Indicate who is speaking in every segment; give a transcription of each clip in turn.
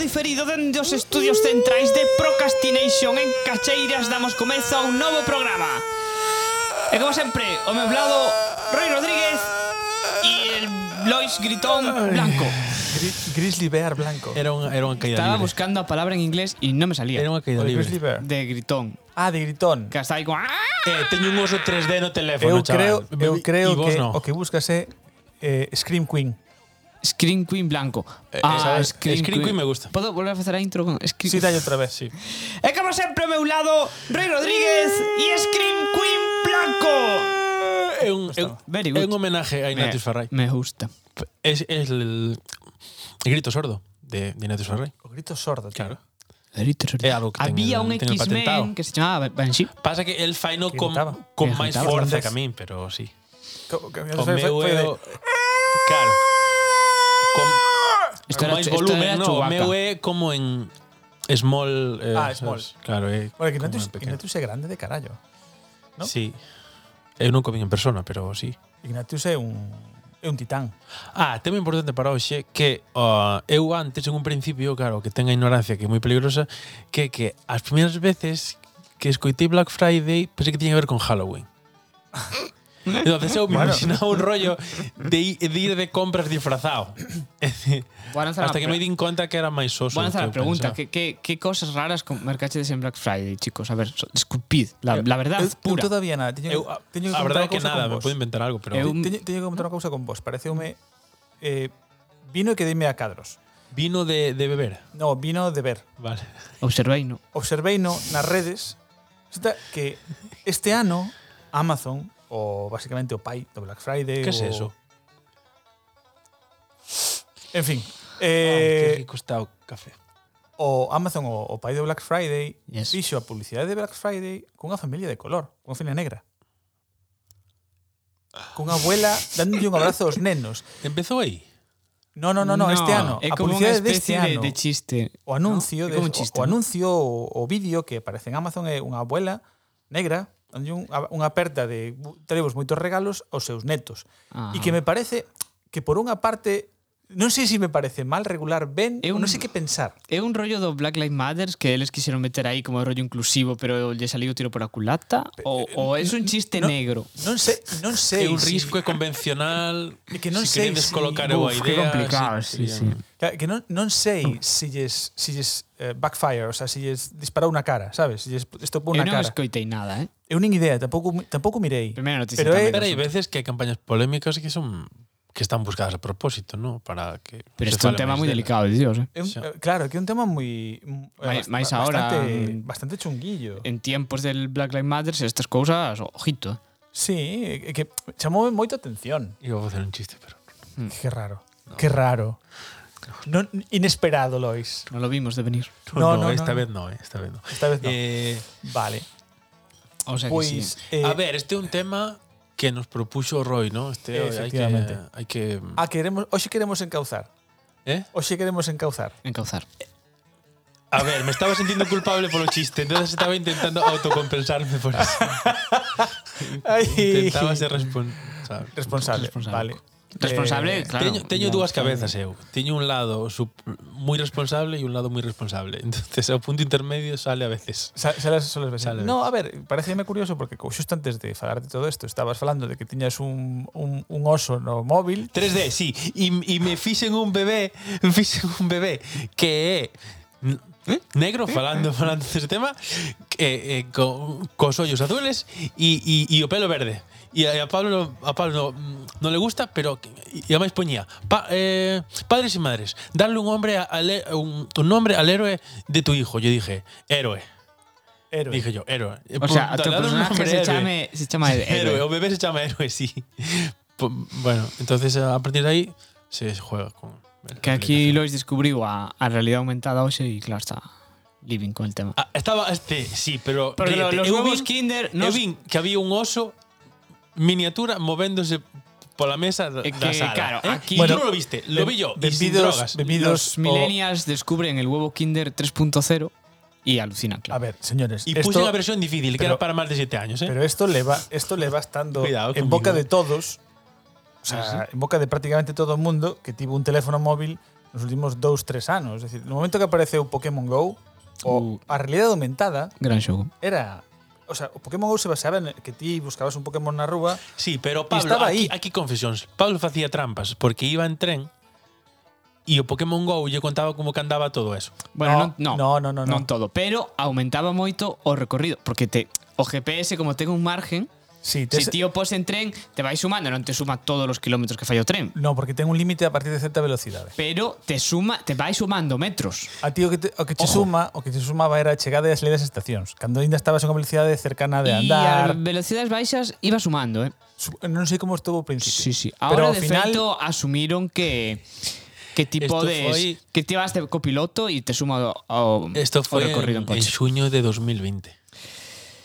Speaker 1: diferido dende os estudios centrais de Procrastination en Cacheiras damos comezo a un novo programa. E como sempre, o meu lado Roy Rodríguez e el Lois Gritón Blanco.
Speaker 2: Gri- Grizzly Bear Blanco.
Speaker 3: Era unha, era unha caída
Speaker 1: Estaba
Speaker 3: libre.
Speaker 1: buscando a palabra en inglés e non me salía.
Speaker 3: Era unha
Speaker 2: O
Speaker 3: caída
Speaker 2: de
Speaker 3: libre.
Speaker 2: Grizzly Bear.
Speaker 1: De Gritón.
Speaker 2: Ah, de gritón.
Speaker 1: Que está aí con... "Ah,
Speaker 3: Eh, teño un oso 3D no
Speaker 2: Eu
Speaker 3: teléfono,
Speaker 2: creo,
Speaker 3: chaval.
Speaker 2: eu creo
Speaker 3: E vos
Speaker 2: que
Speaker 3: no.
Speaker 2: o que buscas é eh, Scream Queen.
Speaker 1: Screen Queen Blanco. Ah,
Speaker 3: esa- eh, Scream Queen me gusta.
Speaker 1: Podo volver a facer a intro con Screen
Speaker 2: Sí, dalle outra vez, sí.
Speaker 1: E como sempre ao meu lado, Rui Rodríguez e Scream Queen Blanco.
Speaker 3: É un, é, un-
Speaker 1: Very
Speaker 3: é
Speaker 1: good.
Speaker 3: un homenaje a Ignatius Farray.
Speaker 1: Me gusta.
Speaker 3: Es, es el, el grito sordo de, de Ignatius Farray.
Speaker 2: O grito sordo. tío.
Speaker 3: Claro. É algo que
Speaker 1: Había
Speaker 3: teñen-
Speaker 1: un
Speaker 3: teñen patentado.
Speaker 1: X-Men que se chamaba Banshee.
Speaker 3: Pasa que el faino
Speaker 2: Que
Speaker 3: con,
Speaker 2: gritaba.
Speaker 3: con
Speaker 1: Que
Speaker 3: máis
Speaker 1: gritaba.
Speaker 3: forza
Speaker 2: Entonces-
Speaker 3: que a min, pero sí.
Speaker 2: Co- co-
Speaker 3: O
Speaker 2: foi-
Speaker 3: meu
Speaker 2: foi
Speaker 3: é
Speaker 2: de-
Speaker 3: o- Claro. Con,
Speaker 1: Isto
Speaker 3: con
Speaker 1: era-
Speaker 3: máis
Speaker 1: isto
Speaker 3: volumen,
Speaker 1: era
Speaker 3: no, o
Speaker 1: Chewbacca.
Speaker 3: meu é como en small... Eh,
Speaker 2: Ah, small.
Speaker 3: sabes? Claro, é
Speaker 2: Bueno, que
Speaker 3: como
Speaker 2: Ignatius,
Speaker 3: en pequeno.
Speaker 2: Ignatius é grande de carallo. ¿no?
Speaker 3: Sí. Eu nunca o vin en persona, pero sí.
Speaker 2: Ignatius é un é un titán.
Speaker 3: Ah, tema importante para hoxe que uh, eu antes en un principio, claro, que ten a ignorancia que é moi peligrosa, que é que as primeiras veces que escoitei Black Friday pensei que tiña que ver con Halloween. Entonces eu me
Speaker 2: Bueno.
Speaker 3: imaginaba un rollo de, i- de ir de compras disfrazado. É dicir,
Speaker 1: Vou a lanzar
Speaker 3: Hasta
Speaker 1: a
Speaker 3: que
Speaker 1: pre-
Speaker 3: me din conta que era máis oso.
Speaker 1: Vou a lanzar a
Speaker 3: que eu
Speaker 1: pregunta.
Speaker 3: pensaba.
Speaker 1: Que, que, que cosas raras con mercachedes en Black Friday, chicos? A ver, so, disculpid. La, la verdad
Speaker 2: eu,
Speaker 1: pura.
Speaker 2: Eu todavía nada. Teño,
Speaker 3: Eu,
Speaker 2: eu,
Speaker 3: ah, a,
Speaker 2: teño que
Speaker 3: a verdade é que
Speaker 2: contar
Speaker 3: nada,
Speaker 2: unha cousa
Speaker 3: me
Speaker 2: con vos.
Speaker 3: podo inventar algo, pero
Speaker 1: Eu-
Speaker 2: Teño, teño que contar unha cousa con vos. Pareceume eh, vino que dime a cadros.
Speaker 3: vino de, de beber.
Speaker 2: No, vino de ver.
Speaker 3: Vale.
Speaker 1: Observei, no?
Speaker 2: Observei no, nas redes resulta que este ano Amazon o basicamente o pai do Black Friday
Speaker 3: Que
Speaker 2: o,
Speaker 3: é eso?
Speaker 2: En fin,
Speaker 3: Eh, que
Speaker 2: eh,
Speaker 3: rico está o café.
Speaker 2: o Amazon o, o pai do Black Friday
Speaker 1: Yes.
Speaker 2: fixo a publicidade de Black Friday cunha familia de color, cunha familia negra. Cunha abuela dándolle un abrazo aos nenos.
Speaker 3: Empezou aí.
Speaker 2: No, no, no, no, este ano.
Speaker 1: É
Speaker 2: A
Speaker 1: como unha
Speaker 2: publicidade deste
Speaker 1: especie de,
Speaker 2: ano.
Speaker 1: de chiste.
Speaker 2: o anuncio,
Speaker 1: ¿no? É
Speaker 2: de,
Speaker 1: como un
Speaker 2: o-
Speaker 1: chiste,
Speaker 2: o,
Speaker 1: ¿no?
Speaker 2: anuncio o, o vídeo que aparece en Amazon é unha abuela negra dándolle un, a- unha aperta de "Bu- traemos moitos regalos aos seus netos.
Speaker 1: Ajá.
Speaker 2: E que me parece que por unha parte non sei se me parece mal regular ben,
Speaker 1: É
Speaker 2: ou
Speaker 1: un-
Speaker 2: non sei que pensar.
Speaker 1: É un rollo do Black Lives Matter que eles quixeron meter aí como rollo inclusivo, pero lle saliu o tiro por a culata? Ou, ou é un chiste
Speaker 2: eh, no-
Speaker 1: negro?
Speaker 2: Non sei, non sei.
Speaker 3: É un
Speaker 2: se-
Speaker 3: risco é convencional.
Speaker 2: É que non
Speaker 3: si
Speaker 2: sei
Speaker 3: queren
Speaker 2: si-
Speaker 3: descolocar eu a
Speaker 1: Uf,
Speaker 3: idea.
Speaker 1: que complicado, sí, sí.
Speaker 2: Que, que non, non sei se lles, se lles eh, backfire, o sea, se lles disparou na cara, sabes? Se lles estopou
Speaker 1: Eu
Speaker 2: na
Speaker 1: non
Speaker 2: cara.
Speaker 1: escoitei nada, eh?
Speaker 2: Eu nin idea, tampouco, mi- tampouco mirei.
Speaker 1: Primeira noticia
Speaker 2: Pero é,
Speaker 1: tamén.
Speaker 3: Pero hai veces que hai campañas polémicas que son que están buscadas a propósito, ¿no? Para que
Speaker 1: Pero
Speaker 3: se
Speaker 1: este é un
Speaker 3: fale
Speaker 1: tema
Speaker 3: máis
Speaker 1: moi
Speaker 3: delas.
Speaker 1: delicado, Dios, eh?
Speaker 2: É un,
Speaker 3: Xa.
Speaker 2: eh, claro, que é un tema moi
Speaker 1: Mais-
Speaker 2: eh,
Speaker 1: mais
Speaker 2: ba-
Speaker 1: ahora,
Speaker 2: bastante,
Speaker 1: mm,
Speaker 2: bastante chunguillo.
Speaker 1: En tiempos del Black Lives Matter, estas cousas, ojito, eh?
Speaker 2: Sí, é que chamou moito a atención.
Speaker 3: Iba a facer un chiste, pero
Speaker 1: Hmm.
Speaker 2: Que raro. Que raro. Non inesperado, Lois.
Speaker 1: Non lo vimos de venir.
Speaker 2: No, no, no,
Speaker 3: no, no, esta
Speaker 2: no.
Speaker 3: vez no, eh, esta vez no.
Speaker 2: Esta vez non.
Speaker 3: Eh,
Speaker 2: Vale.
Speaker 1: O sea que
Speaker 2: Pois
Speaker 3: Pues,
Speaker 1: sí.
Speaker 2: eh,
Speaker 3: a ver, este é un tema que nos propuxo o Roy, ¿no? Este hai que
Speaker 2: Efectivamente.
Speaker 3: hai que
Speaker 2: a ah, queremos, hoxe queremos encauzar.
Speaker 3: ¿eh?
Speaker 2: Hoxe queremos encauzar.
Speaker 1: Encauzar.
Speaker 3: A ver, me estaba sintiendo culpable polo chiste, entonces estaba intentando autocompensarme por eso.
Speaker 2: Ai.
Speaker 3: Intentaba ser responsable.
Speaker 2: responsable,
Speaker 1: Responsable.
Speaker 2: vale.
Speaker 1: Responsable,
Speaker 2: Eh,
Speaker 1: claro.
Speaker 3: teño teño
Speaker 1: ya,
Speaker 3: dúas
Speaker 1: claro.
Speaker 3: cabezas eu. Teño un lado sup- moi responsable e un lado moi responsable. Entonces, o punto intermedio sale a veces.
Speaker 2: Sa- Salas solas veces.
Speaker 3: Salas.
Speaker 2: No, a ver, pareceme curioso porque co- xusto antes de falar de todo isto, estabas falando de que tiñas un, un, un oso no móvil.
Speaker 3: 3D, sí. E, e me fixen un bebé, fixen un bebé que é n- ¿eh? negro falando falando deste tema que, eh, co, cos ollos azules e, e, e o pelo verde e a a Pablo a Pablo mm, non le gusta pero que- e a máis poñía pa, eh, padres e madres darle un hombre a, al he- un, un nombre al héroe de tu hijo yo dije héroe
Speaker 2: Héroe.
Speaker 3: Dije yo, héroe. Eh,
Speaker 1: O
Speaker 3: por-
Speaker 1: sea, a
Speaker 3: dale
Speaker 1: tu
Speaker 3: un
Speaker 1: personaje
Speaker 3: nombre,
Speaker 1: se,
Speaker 3: héroe.
Speaker 1: chame, se chama eh, el
Speaker 3: héroe.
Speaker 1: héroe.
Speaker 3: O bebé se llama héroe, sí. Po- Bueno, entonces a partir de ahí se juega con. la
Speaker 1: Que aquí
Speaker 3: aplicación.
Speaker 1: Lois descubriu a, a realidade aumentada hoxe e claro, está living con el tema.
Speaker 3: Ah, estaba este, sí, pero.
Speaker 1: Pero
Speaker 3: ríete.
Speaker 1: los
Speaker 3: Eu
Speaker 1: huevos
Speaker 3: vin-
Speaker 1: Kinder
Speaker 3: eu vin que había un oso miniatura movéndose pola mesa da
Speaker 1: É
Speaker 3: da
Speaker 1: que,
Speaker 3: sala.
Speaker 1: claro,
Speaker 3: ¿eh?
Speaker 1: aquí-
Speaker 3: Y
Speaker 1: Bueno,
Speaker 3: tú no lo viste, lo vi yo. y sin drogas.
Speaker 2: bebidos
Speaker 1: Los millennials descubren el huevo Kinder 3.0 y alucinan,
Speaker 2: o- a
Speaker 1: claro.
Speaker 2: ver, señores,
Speaker 3: Y
Speaker 2: esto-
Speaker 3: puse una versión difícil, que
Speaker 2: pero-
Speaker 3: era para más de 7 años, ¿eh?
Speaker 2: Pero esto le va, esto le va estando
Speaker 3: Cuidado
Speaker 2: en
Speaker 3: conmigo.
Speaker 2: boca de todos, o sea, en boca de prácticamente todo el mundo que tuvo un teléfono móvil nos últimos dous, tres anos. Es decir, no momento que apareceu Pokémon GO, o
Speaker 1: Uh.
Speaker 2: a realidade aumentada
Speaker 1: Gran xogo.
Speaker 2: era... O sea, o Pokémon GO se basaba en que ti buscabas un Pokémon na rúa
Speaker 3: Sí, pero Pablo,
Speaker 2: estaba
Speaker 3: aquí,
Speaker 2: aí.
Speaker 3: aquí confesións. Pablo facía trampas porque iba en tren e o Pokémon GO lle contaba como que andaba todo eso.
Speaker 1: Bueno,
Speaker 2: No,
Speaker 1: non,
Speaker 2: no, no, no, no.
Speaker 1: non todo, pero aumentaba moito o recorrido, porque te o GPS como ten un margen,
Speaker 2: Sí,
Speaker 1: se ti o pos en tren, te vai sumando, non te suma todos os kilómetros que fai o tren,
Speaker 2: No, porque ten un límite a partir de certa velocidade.
Speaker 1: pero te suma, te vai sumando metros.
Speaker 2: A ti o que te, o que che suma, o que che sumaba era a chegada e a salida das estacións, cando aínda estabas a unha velocidade cercana de
Speaker 1: E a
Speaker 2: andar.
Speaker 1: velocidades baixas iba sumando, eh.
Speaker 2: Su- Non sei como estuvo ao principio.
Speaker 1: Sí, sí.
Speaker 2: Pero
Speaker 1: Ahora,
Speaker 2: ao
Speaker 1: de
Speaker 2: final
Speaker 1: feito, asumiron que que ti
Speaker 3: Esto
Speaker 1: podes
Speaker 3: foi-
Speaker 1: que ti vas de copiloto e te suma o, o, o
Speaker 3: Esto foi
Speaker 1: recorrido en
Speaker 3: en, en
Speaker 1: coche.
Speaker 3: xuño de 2020.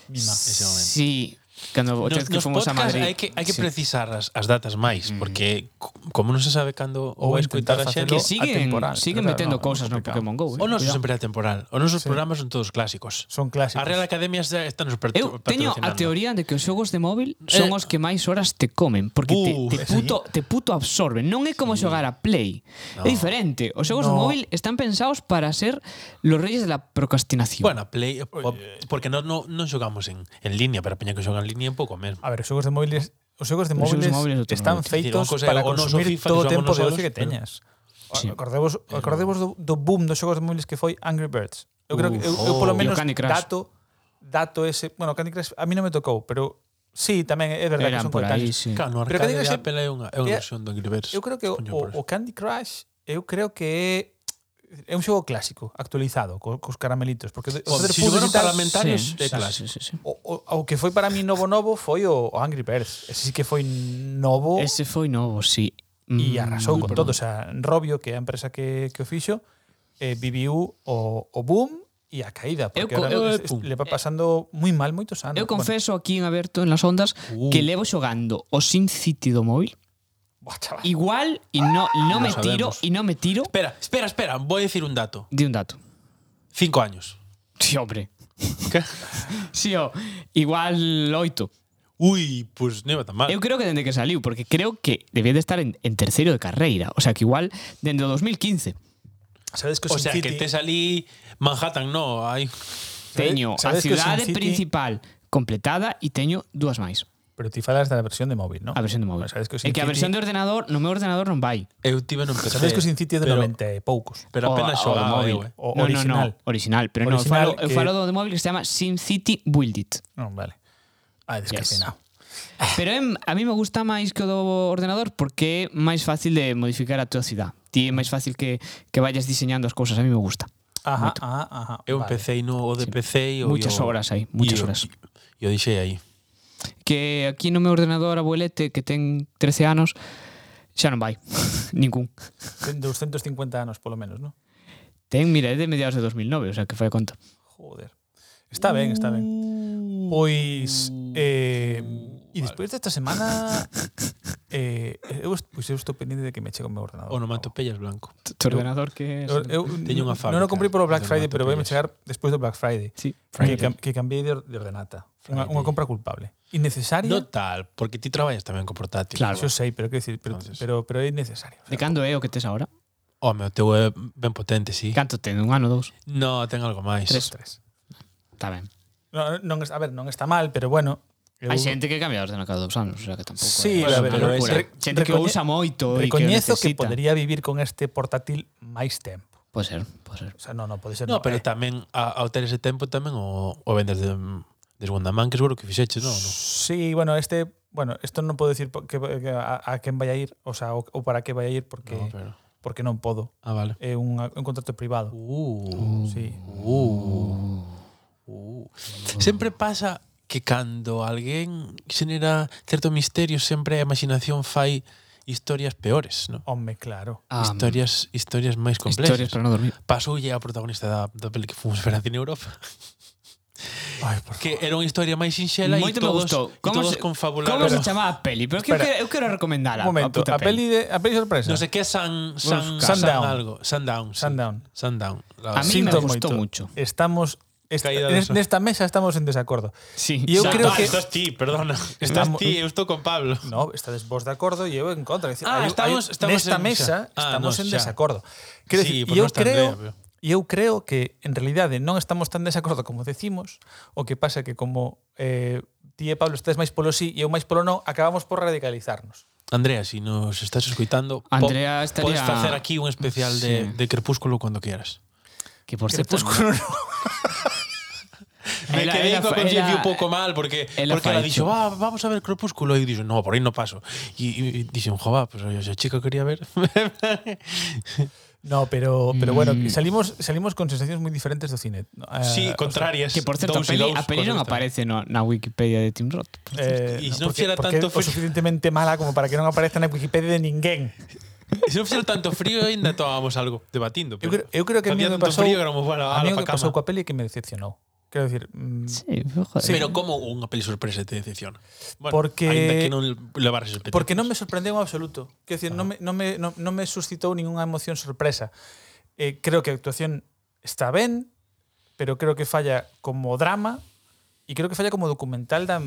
Speaker 2: mima.
Speaker 3: ese momento.
Speaker 1: Sí, cando o
Speaker 3: Nos,
Speaker 1: tez que
Speaker 3: nos
Speaker 1: fomos a
Speaker 3: podcast
Speaker 1: Madrid.
Speaker 3: hai que, hai que
Speaker 1: sí. Mm.
Speaker 3: precisar as, as datas máis, porque co- como non se sabe cando
Speaker 2: Ou
Speaker 3: ou vai escutar
Speaker 2: intentar
Speaker 3: a
Speaker 2: facelo
Speaker 3: xente,
Speaker 1: que siguen,
Speaker 2: atemporal,
Speaker 1: siguen
Speaker 2: pero
Speaker 1: metendo
Speaker 2: no,
Speaker 1: cousas no
Speaker 2: no complicado.
Speaker 1: Pokémon GO. eh.
Speaker 3: o noso
Speaker 1: Cuidado.
Speaker 3: sempre atemporal, o nosos
Speaker 2: Sí.
Speaker 3: programas son todos clásicos.
Speaker 2: Son clásicos.
Speaker 3: A Real Academia xa están nos patro-
Speaker 1: Eu teño a
Speaker 3: patrocinando.
Speaker 1: teoría de que os xogos de móvil son
Speaker 3: Eh.
Speaker 1: os que máis horas te comen porque
Speaker 3: Buh,
Speaker 1: te, te,
Speaker 3: sí.
Speaker 1: puto, te puto absorben non é como xogar a Play é
Speaker 3: No.
Speaker 1: diferente os xogos de
Speaker 2: No.
Speaker 1: móvil están pensados para ser los reyes da procrastinación
Speaker 3: Bueno, Play, o- porque non no, non xogamos en, en línea, pero a peña que xoga en línea é un pouco mesmo.
Speaker 2: A ver, os xogos de móviles Os xogos de
Speaker 1: Os xogos
Speaker 2: móviles,
Speaker 1: de móviles é outro
Speaker 2: están
Speaker 1: rollo.
Speaker 2: feitos
Speaker 3: Dicir, unha cosa é
Speaker 2: para
Speaker 3: o noso
Speaker 2: consumir todo
Speaker 3: FIFA que
Speaker 2: o
Speaker 3: xogamos
Speaker 2: tempo de
Speaker 3: nosolos,
Speaker 2: ocio que
Speaker 3: pero-
Speaker 2: teñas.
Speaker 1: Sí.
Speaker 2: Sí. Acordemos, acordemos do, do boom dos xogos de móviles que foi Angry Birds. Eu creo que eu, eu polo
Speaker 3: Oh.
Speaker 1: E o
Speaker 2: menos
Speaker 1: Candy Crush.
Speaker 2: dato dato ese, bueno, Candy Crush a mí non me tocou, pero sí, tamén é verdade que
Speaker 1: eran
Speaker 2: son
Speaker 1: por aí
Speaker 2: coetáneos.
Speaker 1: sí.
Speaker 3: Claro,
Speaker 2: Pero
Speaker 3: no arcade
Speaker 2: que digo
Speaker 3: de
Speaker 2: que-
Speaker 3: Apple é unha, é unha
Speaker 2: que-
Speaker 3: versión do Angry Birds.
Speaker 2: Eu creo que o,
Speaker 3: Coño,
Speaker 2: o,
Speaker 3: por eso.
Speaker 2: o Candy Crush eu creo que é é un xogo clásico, actualizado, co, cos caramelitos, porque o, Poder
Speaker 3: Hombre, si
Speaker 2: Público e
Speaker 3: xogaron
Speaker 2: tal,
Speaker 3: parlamentarios,
Speaker 1: sí,
Speaker 3: é
Speaker 1: sí, sí,
Speaker 3: clásico.
Speaker 1: sí, sí.
Speaker 2: o, o, o que foi para mí novo novo foi o, o Angry Birds. Ese sí que foi
Speaker 1: Oh.
Speaker 2: novo
Speaker 1: Ese foi novo, sí.
Speaker 2: e
Speaker 1: Mm,
Speaker 2: arrasou
Speaker 1: moi
Speaker 2: con
Speaker 1: perdón.
Speaker 2: todo, o sea, Robio, que é a empresa que que o fixo, eh, viviu o, o boom e a caída,
Speaker 1: Eu
Speaker 2: porque
Speaker 1: co- eu-
Speaker 2: ahora es- es-
Speaker 3: pum.
Speaker 2: le va pasando moi mal moitos anos.
Speaker 1: Eu confeso aquí en aberto en las ondas
Speaker 3: Uh.
Speaker 1: que levo xogando o Sin City do móvil
Speaker 2: Bueno, buah, chaval.
Speaker 1: igual e no, e no
Speaker 3: Lo
Speaker 1: me tiro
Speaker 3: sabemos.
Speaker 1: e no me tiro
Speaker 3: Espera, espera, espera, voy a decir un dato.
Speaker 1: de un dato.
Speaker 3: Cinco años.
Speaker 1: Sí, hombre.
Speaker 3: ¿Qué?
Speaker 1: Sí, o, igual oito.
Speaker 3: Uy, pues non iba tan
Speaker 2: Ah.
Speaker 3: mal.
Speaker 1: Eu creo que dende que saliu, porque creo que debía de estar en, en terceiro de carreira. O sea, que igual dende o 2015
Speaker 2: Sabes que o
Speaker 3: o
Speaker 2: Sin
Speaker 3: sea, que
Speaker 2: City,
Speaker 3: te salí Manhattan, no, hai
Speaker 1: teño a
Speaker 2: sabes que o
Speaker 1: cidade
Speaker 2: Sin City-
Speaker 1: principal completada e teño dúas máis.
Speaker 2: pero ti falas da versión de móvil, ¿no?
Speaker 1: A versión de móvil.
Speaker 2: Sabes que
Speaker 1: e
Speaker 2: o Sin
Speaker 1: que a
Speaker 2: City-
Speaker 1: versión de ordenador, no meu ordenador non vai.
Speaker 3: eu tive non empecé.
Speaker 2: Sabes que o Sin City é de
Speaker 3: pero,
Speaker 2: 90 e poucos.
Speaker 3: pero apenas
Speaker 1: o- o
Speaker 3: xogaba
Speaker 1: móvil.
Speaker 3: eu, eh.
Speaker 2: O
Speaker 1: no, No,
Speaker 2: original.
Speaker 1: no, original. Pero
Speaker 2: Original
Speaker 1: no, eu falo, eu
Speaker 2: que-
Speaker 1: falo do de móvil que se llama SimCity Build It.
Speaker 2: Non, vale. Ah, descafeinado.
Speaker 1: Pero em, a mí me gusta máis que o do ordenador porque é máis fácil de modificar a tua cidade. Ti é máis fácil que, que vayas diseñando as cousas. A mí me gusta.
Speaker 2: Ajá, ajá, ajá.
Speaker 3: Eu
Speaker 2: vale.
Speaker 3: empecé no o de PC e o
Speaker 1: Muchas
Speaker 3: e o-
Speaker 1: horas aí, muchas
Speaker 3: e o-
Speaker 1: horas.
Speaker 3: E o deixei aí.
Speaker 1: Que aquí no meu ordenador abuelete que ten 13 anos xa non vai. Ningún.
Speaker 2: Ten 250 anos, polo menos, ¿no?
Speaker 1: Ten, mira, é de mediados de 2009, o sea que foi a conta.
Speaker 2: Joder. Está ben, está ben.
Speaker 3: Uh,
Speaker 2: Pois
Speaker 3: Mm.
Speaker 2: eh, e despois desta semana eh, eu, est- pois eu estou pendente de que me chegue o meu ordenador.
Speaker 3: Onomatopeyas blanco.
Speaker 1: Tu ordenador que é...
Speaker 2: Eu, eu
Speaker 3: Teño unha
Speaker 2: Non
Speaker 3: fábrica
Speaker 2: o comprei polo Black
Speaker 3: de
Speaker 2: Friday, pero vai me
Speaker 3: onomatopeyas.
Speaker 2: chegar despois do Black Friday.
Speaker 1: Sí.
Speaker 2: Friday. Que, cam- que cambiei de, or- de ordenata. Unha,
Speaker 3: Friday.
Speaker 2: unha compra culpable. Innecesaria?
Speaker 3: No tal, porque ti traballas tamén con portátil.
Speaker 1: Claro.
Speaker 2: Yo sei, pero quero dicir, pero,
Speaker 3: Entonces.
Speaker 2: pero, pero é innecesario.
Speaker 1: De cando é o que tes agora?
Speaker 3: Home, o teu é ben potente, sí.
Speaker 1: Canto ten? Un ano, dous?
Speaker 3: No, ten algo máis.
Speaker 1: Tres.
Speaker 2: Tres.
Speaker 1: Está ben.
Speaker 2: No, non, es- a ver, non está mal, pero bueno. eu-
Speaker 1: Hai xente que cambia orden cada dos anos, o sea que tampouco
Speaker 2: Sí,
Speaker 1: é
Speaker 3: a
Speaker 1: unha
Speaker 3: ver,
Speaker 1: locura.
Speaker 3: pero ese-
Speaker 1: xente que
Speaker 2: recoñe-
Speaker 1: usa moito e que o
Speaker 2: Recoñezo que, que
Speaker 1: necesita.
Speaker 2: podería vivir con este portátil máis tempo.
Speaker 1: Pode ser, pode ser.
Speaker 2: O sea, non, non pode ser.
Speaker 3: No, pero
Speaker 2: eh.
Speaker 3: tamén a- ao ter ese tempo tamén o, o vendes de, de segunda man, que seguro que fixeches, non? No.
Speaker 2: Sí, bueno, este, bueno, esto non podo decir po- que, que a, a quen vai a ir, o sea, o, o para que vai a ir porque
Speaker 3: No,
Speaker 2: no,
Speaker 3: pero...
Speaker 2: porque non podo.
Speaker 3: Ah, vale.
Speaker 2: É un, un contrato privado.
Speaker 3: Uh.
Speaker 2: Sí.
Speaker 3: Uh. Uh. Sempre pasa que cando alguén xenera certo misterio, sempre a imaginación fai historias peores, non?
Speaker 2: Home, claro.
Speaker 1: Ah,
Speaker 3: historias historias máis
Speaker 1: historias
Speaker 3: complexas.
Speaker 1: para non dormir.
Speaker 3: Pasoulle a protagonista da, da peli que fomos ver a Cine Europa,
Speaker 2: Ai, por
Speaker 3: que era unha historia máis sinxela e
Speaker 1: Moito me
Speaker 3: todos,
Speaker 1: gustou.
Speaker 3: e todos confabularon.
Speaker 1: Como se chamaba a peli? Pero que eu
Speaker 2: Espera.
Speaker 1: quero, eu quero recomendala.
Speaker 2: Un momento,
Speaker 1: puta
Speaker 2: a peli, de, a peli sorpresa.
Speaker 3: No sé qué San San
Speaker 2: Sundown.
Speaker 3: algo, Sundown. sí.
Speaker 2: Sundown.
Speaker 3: Sundown. La-
Speaker 1: A mí
Speaker 3: Sí,
Speaker 1: me
Speaker 2: Sinto
Speaker 1: gustou mucho.
Speaker 2: moito. Estamos Esta,
Speaker 3: Caída do
Speaker 2: nes-
Speaker 3: sol.
Speaker 2: nesta mesa estamos en desacordo.
Speaker 1: Sí.
Speaker 2: E eu
Speaker 1: Exacto.
Speaker 2: creo
Speaker 3: Ah,
Speaker 2: que-
Speaker 3: Estás ti, perdona. Estás
Speaker 2: Vamos-
Speaker 3: ti, eu estou con Pablo.
Speaker 2: No, estades vos de acordo e eu en contra. Decir,
Speaker 3: Ah,
Speaker 2: hai-
Speaker 3: estamos-
Speaker 2: hai-
Speaker 3: estamos
Speaker 2: nesta
Speaker 3: en-
Speaker 2: mesa
Speaker 3: Ah,
Speaker 2: estamos
Speaker 3: no,
Speaker 2: en
Speaker 3: xa.
Speaker 2: desacordo. Quero
Speaker 3: Sí,
Speaker 2: decir,
Speaker 3: pois
Speaker 2: eu
Speaker 3: non está
Speaker 2: creo
Speaker 3: Andrea, pero-
Speaker 2: e eu creo que en realidade non estamos tan desacordo como decimos, o que pasa que como eh, ti e Pablo estés máis polo sí e eu máis polo non, acabamos por radicalizarnos.
Speaker 3: Andrea, si nos estás escuitando, po-
Speaker 1: Andrea estaría-
Speaker 3: podes facer aquí un especial de,
Speaker 1: Sí.
Speaker 3: de Crepúsculo cuando quieras.
Speaker 1: Que por cierto.
Speaker 2: Crepúsculo no.
Speaker 3: Me
Speaker 1: Ela-
Speaker 3: quedé
Speaker 1: ela
Speaker 3: con
Speaker 1: fa-
Speaker 3: conciencia
Speaker 1: ela-
Speaker 3: un poco mal porque,
Speaker 1: ela
Speaker 3: porque
Speaker 1: fa
Speaker 3: ela
Speaker 1: hecho.
Speaker 3: dixo, "Va, vamos a ver Crepúsculo. E dixo, no, por aí no paso. E, e dixen, jo, va, pues oye, esa chica quería ver.
Speaker 2: No, pero pero bueno,
Speaker 1: Mm.
Speaker 2: salimos salimos con sensacións moi diferentes do cine. Eh,
Speaker 3: sí, contrarias.
Speaker 1: Que por cierto,
Speaker 3: dous
Speaker 1: a
Speaker 3: e
Speaker 1: peli,
Speaker 3: dous,
Speaker 1: a peli
Speaker 3: cosas
Speaker 1: non
Speaker 3: tal.
Speaker 1: aparece no, na Wikipedia de Tim Roth.
Speaker 2: Eh,
Speaker 3: Y
Speaker 2: no,
Speaker 3: si no
Speaker 2: porque-
Speaker 3: fixera
Speaker 2: porque é
Speaker 3: tanto pues-
Speaker 2: o
Speaker 3: frío-
Speaker 2: suficientemente mala como para que non apareza na Wikipedia de ninguén.
Speaker 3: Se non fixera tanto frío, ainda tomábamos algo debatindo.
Speaker 2: Eu
Speaker 3: Pero
Speaker 2: creo, eu creo que a mí
Speaker 3: facía
Speaker 2: me
Speaker 3: tanto
Speaker 2: pasou
Speaker 3: frío que éramos, bueno,
Speaker 2: a
Speaker 3: ala
Speaker 2: mí o
Speaker 3: pa
Speaker 2: que pasou
Speaker 3: cama.
Speaker 2: coa peli é que me decepcionou. Quero decir, mm,
Speaker 1: Sí, joder.
Speaker 3: Pero como unha peli sorpresa te decepciona. Bueno,
Speaker 2: Porque-
Speaker 3: Ainda que non levaras expectativas.
Speaker 2: Porque non me sorprendeu en absoluto. Quero decir, non me, non me, non, non me suscitou ningunha emoción sorpresa. Eh, creo que a actuación está ben, pero creo que falla como drama e creo que falla como documental da,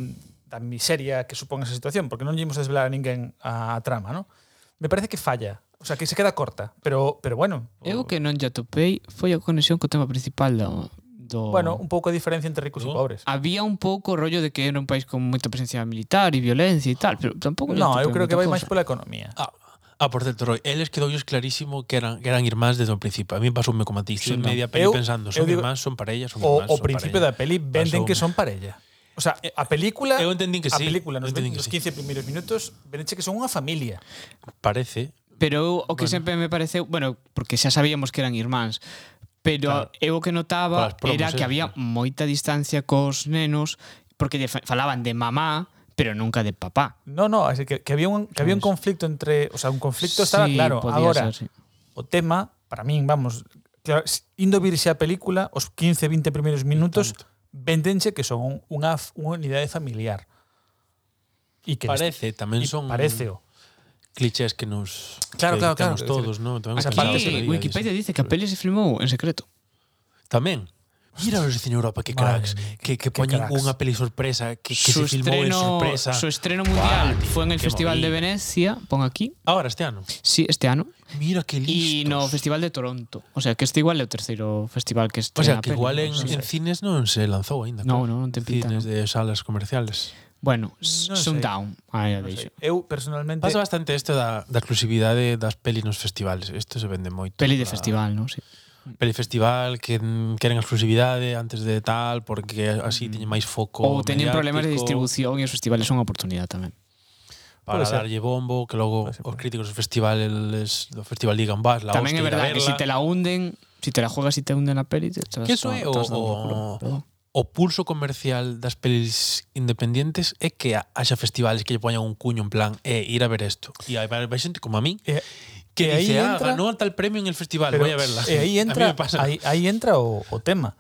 Speaker 2: da miseria que supón esa situación, porque non lle imos desvelar a ninguén a, a trama, ¿no? Me parece que falla. O sea, que se queda corta, pero, pero bueno.
Speaker 1: Eu que non lle atopei foi a conexión co tema principal do... do...
Speaker 2: Bueno, un pouco a diferencia entre ricos e
Speaker 3: Oh.
Speaker 2: pobres.
Speaker 1: Había un pouco o rollo de que era un país con moita presencia militar e violencia e tal, pero pues, tampouco... lle
Speaker 2: No,
Speaker 1: atopei
Speaker 2: eu creo que
Speaker 1: moita
Speaker 2: vai
Speaker 1: cousa.
Speaker 2: máis pola economía.
Speaker 3: Ah, ah, por certo, Roy, eles quedoulles clarísimo que eran, que eran irmás desde o principio. A mí pasoume como a ti,
Speaker 1: Sí,
Speaker 3: estive
Speaker 1: no.
Speaker 3: media peli
Speaker 2: Eu-
Speaker 3: pensando,
Speaker 2: eu
Speaker 3: son
Speaker 2: digo-
Speaker 3: irmás, son parellas, son
Speaker 2: O, o
Speaker 3: irmás, son
Speaker 2: principio
Speaker 3: parella.
Speaker 2: da peli venden
Speaker 3: Pasoume.
Speaker 2: que son parella. O sea, a película
Speaker 3: Eu entendín que
Speaker 2: a
Speaker 3: sí.
Speaker 2: película nos,
Speaker 3: eu
Speaker 2: ven-
Speaker 3: entendín
Speaker 2: nos
Speaker 3: que sí.
Speaker 2: 15 primeiros minutos veneche que son unha familia.
Speaker 3: Parece.
Speaker 1: Pero eu, o que sempre me pareceu... Bueno, porque xa sabíamos que eran irmáns, pero
Speaker 3: Claro.
Speaker 1: eu o que notaba
Speaker 3: Polas promos,
Speaker 1: era que
Speaker 3: eh,
Speaker 1: había moita distancia cos nenos porque lle fa- falaban de mamá, pero nunca de papá.
Speaker 2: No, no, así que, que había un que había un conflicto entre, o sea, un conflicto estaba
Speaker 1: Sí,
Speaker 2: claro.
Speaker 1: podía
Speaker 2: Agora,
Speaker 1: ser, sí.
Speaker 2: o tema, para min, vamos, claro, s- indo virse a película, os 15, 20 primeiros minutos vendenche que son un- unha, f- unha unidade familiar. E que
Speaker 3: Parece, tamén
Speaker 2: e
Speaker 3: son
Speaker 2: parece o.
Speaker 3: clichés que nos
Speaker 2: Claro,
Speaker 3: que
Speaker 2: claro, claro,
Speaker 3: dictamos
Speaker 2: quer
Speaker 3: todos, non? Tamén
Speaker 2: as
Speaker 3: o
Speaker 2: partes
Speaker 3: pensaba
Speaker 1: Aquí
Speaker 3: outro día
Speaker 1: Wikipedia
Speaker 3: diso.
Speaker 1: dice que a peli se filmou en secreto.
Speaker 3: Tamén. Mira os de Europa, que
Speaker 2: Madre
Speaker 3: cracks,
Speaker 2: mía,
Speaker 3: que, que
Speaker 2: que
Speaker 3: poñen
Speaker 2: cracks.
Speaker 3: unha peli sorpresa, que, que se filmou en sorpresa.
Speaker 1: su estreno mundial
Speaker 3: Buah, tío,
Speaker 1: fue en el
Speaker 3: qué
Speaker 1: Festival de
Speaker 3: movida.
Speaker 1: Venecia, pon aquí,
Speaker 3: Ahora este ano.
Speaker 1: sí, este ano,
Speaker 3: Mira que
Speaker 1: e
Speaker 3: listos.
Speaker 1: no Festival de Toronto. O sea, que este igual é o terceiro festival que
Speaker 3: O
Speaker 1: estrena
Speaker 3: sea, que igual en, en cines non se lanzou aínda.
Speaker 1: No,
Speaker 3: claro.
Speaker 1: no, non ten pinta,
Speaker 3: Cines
Speaker 1: non.
Speaker 3: de salas comerciales.
Speaker 1: Bueno,
Speaker 2: Non sei.
Speaker 1: Sundown, aí a deixo.
Speaker 2: Eu personalmente
Speaker 3: Pasa bastante isto da, da exclusividade das pelis nos festivales. Isto se vende moito.
Speaker 1: Peli de
Speaker 3: Ah,
Speaker 1: festival, non? Sí.
Speaker 3: Peli festival, que mm, queren exclusividade antes de tal, porque así teñen máis foco
Speaker 1: Ou Mm. teñen problemas de
Speaker 3: mediático
Speaker 1: distribución e os festivales son unha oportunidade tamén.
Speaker 3: Para
Speaker 2: Puede ser.
Speaker 3: darlle bombo, que logo
Speaker 2: Puede ser,
Speaker 3: os críticos do festival les, do festival digan, vas, la
Speaker 1: tamén é
Speaker 3: hostia, ir a
Speaker 1: verdade que se
Speaker 3: verla".
Speaker 1: te la hunden, si te la juegas e te hunden a peli, te
Speaker 3: Que eso é o- o- o pulso comercial das pelis independientes é que ha- haxa festivales que lle poñan un cuño en plan eh, ir a ver isto. E hai vai xente como a min
Speaker 2: E- e
Speaker 3: que
Speaker 2: aí
Speaker 3: dice, ah,
Speaker 2: entra-
Speaker 3: ganó tal premio en el festival,
Speaker 2: Pero,
Speaker 3: voy a verla.
Speaker 2: E aí
Speaker 3: a mí
Speaker 2: entra,
Speaker 3: me pasa.
Speaker 2: aí, aí entra o, o tema.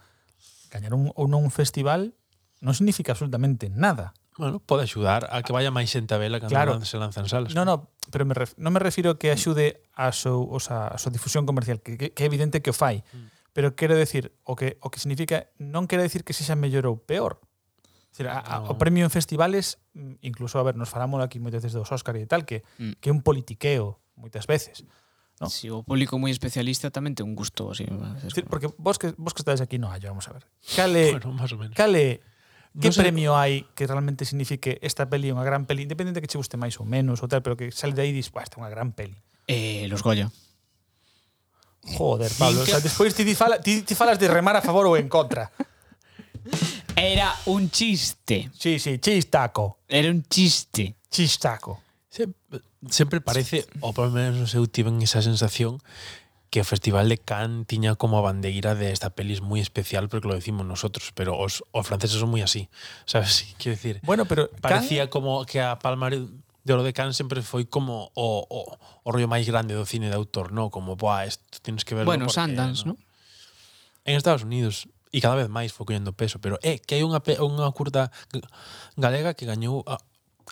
Speaker 2: Gañar un, ou non un festival non significa absolutamente nada.
Speaker 3: Bueno, pode axudar a que vaya máis xente a vela cando
Speaker 2: Claro.
Speaker 3: claro. se lanzan salas.
Speaker 2: No, no, pero me ref, non me refiro que axude a súa o sea, a súa difusión comercial, que, que, que é evidente que o fai.
Speaker 3: Mm.
Speaker 2: Pero quero decir, o que o que significa non quero decir que sexa mellor ou peor. Decir, a, a, o
Speaker 3: No.
Speaker 2: premio en festivales, mm, incluso, a ver, nos falámoslo aquí moitas veces dos Óscar e tal, que,
Speaker 1: Mm.
Speaker 2: que é un politiqueo moitas veces. ¿no?
Speaker 1: Si o público moi especialista tamén ten un gusto así.
Speaker 2: Es decir, porque vos que, vos que estades aquí no hallo, vamos a ver. Cale,
Speaker 3: Bueno, máis ou menos.
Speaker 2: Cale, que
Speaker 3: Non sei-
Speaker 2: premio hai que realmente signifique esta peli é unha gran peli, independente que che guste máis ou menos ou tal, pero que sale de aí e dis, "Buah, esta é unha gran peli.
Speaker 1: Eh, los Goya.
Speaker 2: Joder, Pablo, o sea, despois ti, ti, fala, ti, ti falas de remar a favor ou en contra.
Speaker 1: Era un chiste.
Speaker 2: Sí, sí, chistaco,
Speaker 1: Era un chiste.
Speaker 2: chistaco.
Speaker 3: Se- Sempre parece, ou polo menos eu tiven esa sensación que o Festival de Cannes tiña como a bandeira de esta peli es moi especial porque lo decimos nosotros, pero os, os franceses son moi así, sabes? Quero decir,
Speaker 2: Bueno, pero
Speaker 3: parecía como que a Palma de Oro de Cannes sempre foi como o, o, o rollo máis grande do cine de autor, no? Como, buah, esto tienes que verlo.
Speaker 1: bueno,
Speaker 3: porque,
Speaker 1: Sundance, ¿no?
Speaker 3: En Estados Unidos, e cada vez máis foi coñendo peso, pero é que hai unha, pe- unha curta g- galega que gañou a,